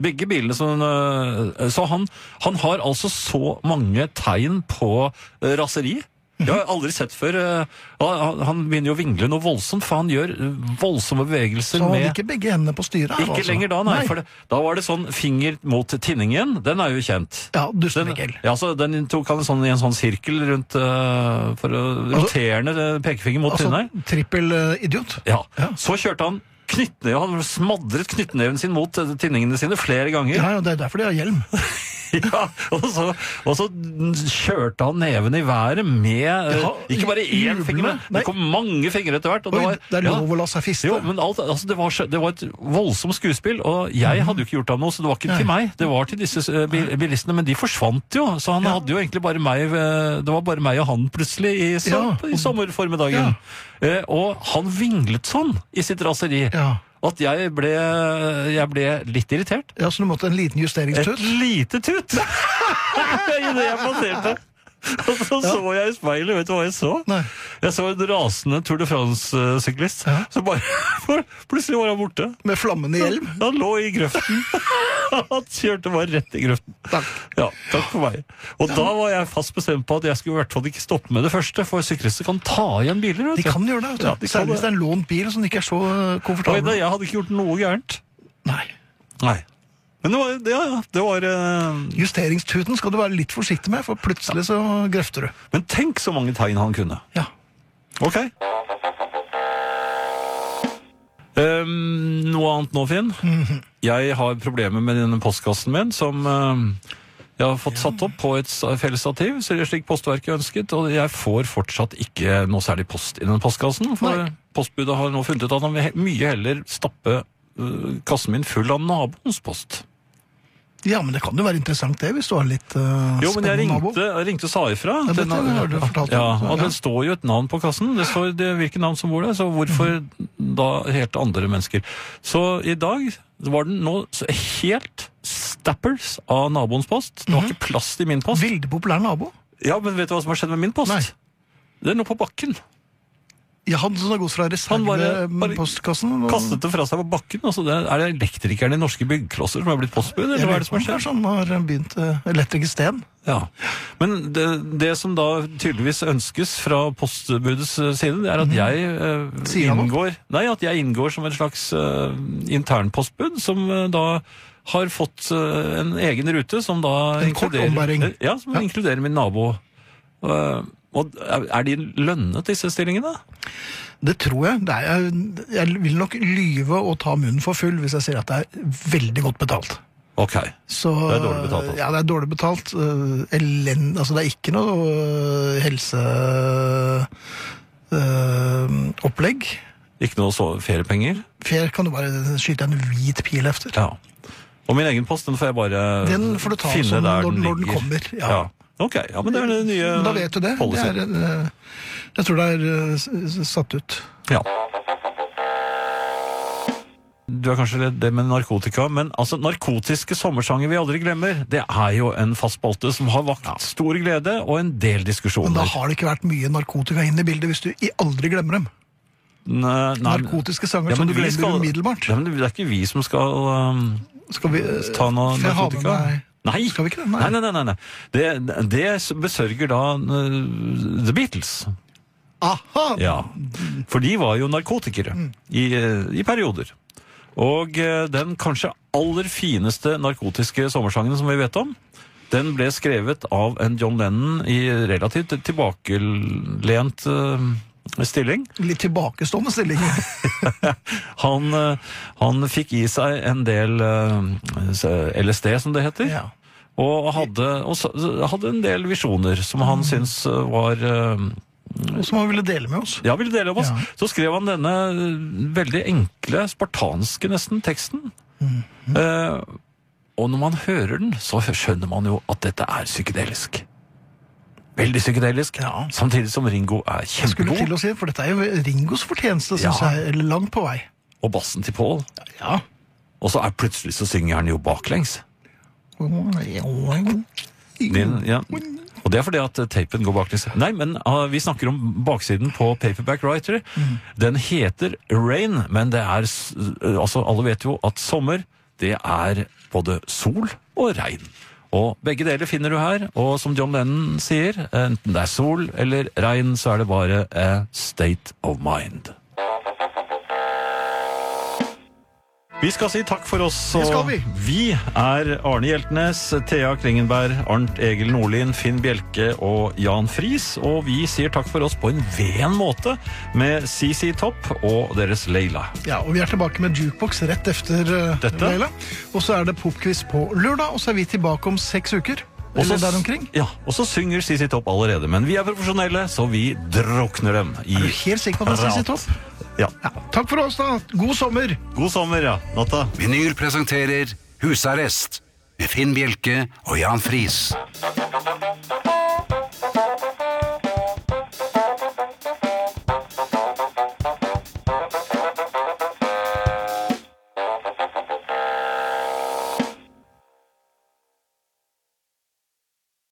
Begge bilene som eh, Så han, han har altså så mange tegn på eh, raseri. Det
Mhm.
har jeg aldri sett før. eh, Han han begynner jo å vingle noe voldsomt, for han gjør eh, voldsomme bevegelser
Så han
med
hadde ikke begge hendene på styret? her,
Ikke
altså.
lenger da, nei. For det, da var det sånn finger mot tinningen. Den er jo kjent.
Ja,
Den,
dusten Mikkel.
ja, så den tok han en sånn, i en sånn sirkel rundt øh, for å roterende øh, pekefinger mot
Altså,
tunnelen.
trippel eh, idiot.
Ja.
ja.
Så kjørte han knyttneve, han smadret knyttneven sin mot øh, tinningene sine flere ganger.
Ja, ja, det er derfor de har hjelm.
Ja, og, så, og så kjørte han neven i været med øh,
Ja,
Ikke bare én
jublende.
finger, men
Nei.
det kom mange fingre etter hvert. Og
Oi,
det var,
det er
ja.
lov å la seg fiste.
Jo, men alt, altså det, var, så- det var et voldsomt skuespill, og
Mhm.
jeg hadde jo ikke gjort ham noe, så det var ikke til meg. Det var til disse eh, bil, bilistene, men de forsvant jo, så han hadde jo egentlig bare meg, eh, det var bare meg og han plutselig i, so
Ja,
i sommerformiddagen. Eh, og han vinglet sånn i sitt raseri,
Ja.
at jeg ble, jeg ble litt irritert.
ja, Så du måtte en liten
Et
justeringstut?
lite tut! I det jeg passerte. Og så så jeg i speilet, vet du hva jeg så?
Nei.
Jeg så en rasende Tour de France-syklist.
Ja.
Så bare, for, plutselig var han borte.
Med flammende hjelm?
Han lå i grøften. Han kjørte bare rett i grøften.
Takk.
Ja, takk for meg. Og da var jeg fast bestemt på at jeg skulle i hvert fall ikke stoppe med det første, for syklister kan ta igjen biler.
De
vet
kan
du.
gjøre det, vet du.
Ja, de kan
Særlig hvis det er en lånt bil som ikke er så eh,
Oi,
komfortabel.
da, jeg hadde ikke gjort noe gærent.
Nei.
Nei. Men det var, ja, ja, det var eh,
Justeringstuten skal du være litt forsiktig med, for plutselig så grøfter du.
Men tenk så mange tegn han kunne.
Ja.
Ok. Ehm, noe annet nå, Finn? Jeg har problemer med denne postkassen min, som ehm, Jeg har fått satt opp på et s- felles stativ, så det er slik Postverket ønsket, og jeg får fortsatt ikke noe særlig post i den postkassen, for
Nei.
postbudet har nå funnet ut at han vil he- mye heller stappe øh, kassen min full av naboens post.
Ja, men det kan jo være interessant det, hvis du har litt uh,
Jo, men jeg
spennende nabo.
ringte, jeg ringte og sa ifra.
Ja,
Den
dette
har-
har du fortalt om.
ja, og
Ja.
det står jo et navn på kassen. Det står det, hvilket navn som bor der, så hvorfor da helt andre mennesker? Så i dag var den nå så helt stappers av naboens post.
Mhm.
Det var ikke plass til min post.
Veldig populær nabo.
Ja, men vet du hva som har skjedd med min post?
Nei.
Den lå på bakken.
Ja, han som har gått fra
Han bare- bare
reservepostkassen og-
Kastet det fra seg på bakken. Altså, det, er det elektrikeren i norske byggklosser som har blitt postbud, eller
Jeg
hva
vet
er det som har
ikke,
skjedd?
kanskje Han har begynt uh, elektriker Sten.
Ja, Men det, det som da tydeligvis ønskes fra postbudets eh, side, det er at jeg eh,
Mhm. Sier han noe?
inngår Nei, at jeg inngår som en slags eh, internpostbud, som eh, da har fått eh, en egen rute som da
En kort
inkluderer Eh,
ombæring.
Ja, som
Ja.
inkluderer min nabo. Eh, og er er de lønnet, disse stillingene?
Det tror jeg. Det er, jeg- jeg vil nok lyve og ta munnen for full hvis jeg sier at det er veldig godt betalt.
Ok.
Så,
Det er dårlig betalt, altså.
Ja, det er dårlig betalt. øh, Elend, altså det er ikke noe øh, helse... øh, opplegg.
Ikke noe så feriepenger?
For kan du bare skyte en hvit pil efter.
Ja. Og min egen post, den får jeg bare
Den får du ta
finne
som
der
når-
den
når den
ligger.
kommer, ja.
Ok, ja, men det er det nye
Da vet du det. det
policyen.
er, øh, jeg tror det er øh, s- s- satt ut.
Ja. Du er kanskje redd det med narkotika, men altså narkotiske sommersanger vi aldri glemmer, det er jo en fast spalte som har vakt stor glede og en del
Men da
diskusjoner.
har det ikke vært mye narkotika inn i bildet hvis du i aldri glemmer dem.
Nei, nei, men-
Narkotiske sanger
Ja, men
som du
vi
glemmer
skal-
umiddelbart.
Ja, men det er ikke vi som skal um,
Skal vi øh,
ta noe
får jeg ha med
narkotika?
meg-
Nei.
Skal vi ikke det?
Nei, nei, nei. nei, nei. Det, det besørger da uh, The Beatles.
Aha!
Ja. For de var jo narkotikere i, eh, i perioder. Og eh, den kanskje aller fineste narkotiske sommersangen som vi vet om, den ble skrevet av en John Lennon i relativt tilbakelent eh, stilling.
Litt tilbakestående stilling.
Han, eh, han fikk i seg en del eh, LSD, som det heter.
ja.
Og hadde, og så- hadde en del visjoner som han syntes eh, var eh,
Og som han ville dele med oss.
Ja, ville dele av oss.
Ja.
Så skrev han denne eh, veldig enkle, spartanske nesten, teksten.
Mhm.
Eh, og når man hører den, så skjønner man jo at dette er psykedelisk. Veldig psykedelisk.
Ja.
Samtidig som Ringo er
Jeg skulle til
kjempegod,
å si, for dette er jo Ringos fortjeneste, synes
Ja.
jeg, eller langt på vei.
og bassen til Paul.
Ja.
Og så er plutselig så synger han jo baklengs. Din, ja. Og det er fordi at eh, tapen går baklengs. Nei, men ah, vi snakker om baksiden på Paperback Writer. Den heter Rain, men det er s- eh, Altså, alle vet jo at sommer, det er både sol og regn. Og begge deler finner du her, og som John Lennon sier, eh, enten det er sol eller regn, så er det bare a state of mind. Vi skal si takk for oss.
Det skal
og
vi.
vi er Arne Hjeltnes, Thea Klingenberg, Arnt Egil Nordlien, Finn Bjelke og Jan Friis. Og vi sier takk for oss på en ven måte med CC Topp og deres Leila.
Ja, og vi er tilbake med jukebox rett efter eh,
Dette?
Leila. Og så er det popquiz på lørdag, og så er vi tilbake om seks uker.
Og så-
Eller der omkring.
Ja, og så synger CC Topp allerede. Men vi er profesjonelle, så vi drukner dem i
Er du helt sikker på at det er
prat.
CC Topp?
Ja.
Ja. Takk for oss, da. God sommer!
God sommer, ja. Natta.
Vinyl presenterer Husarrest med Finn Bjelke og Jan Friis.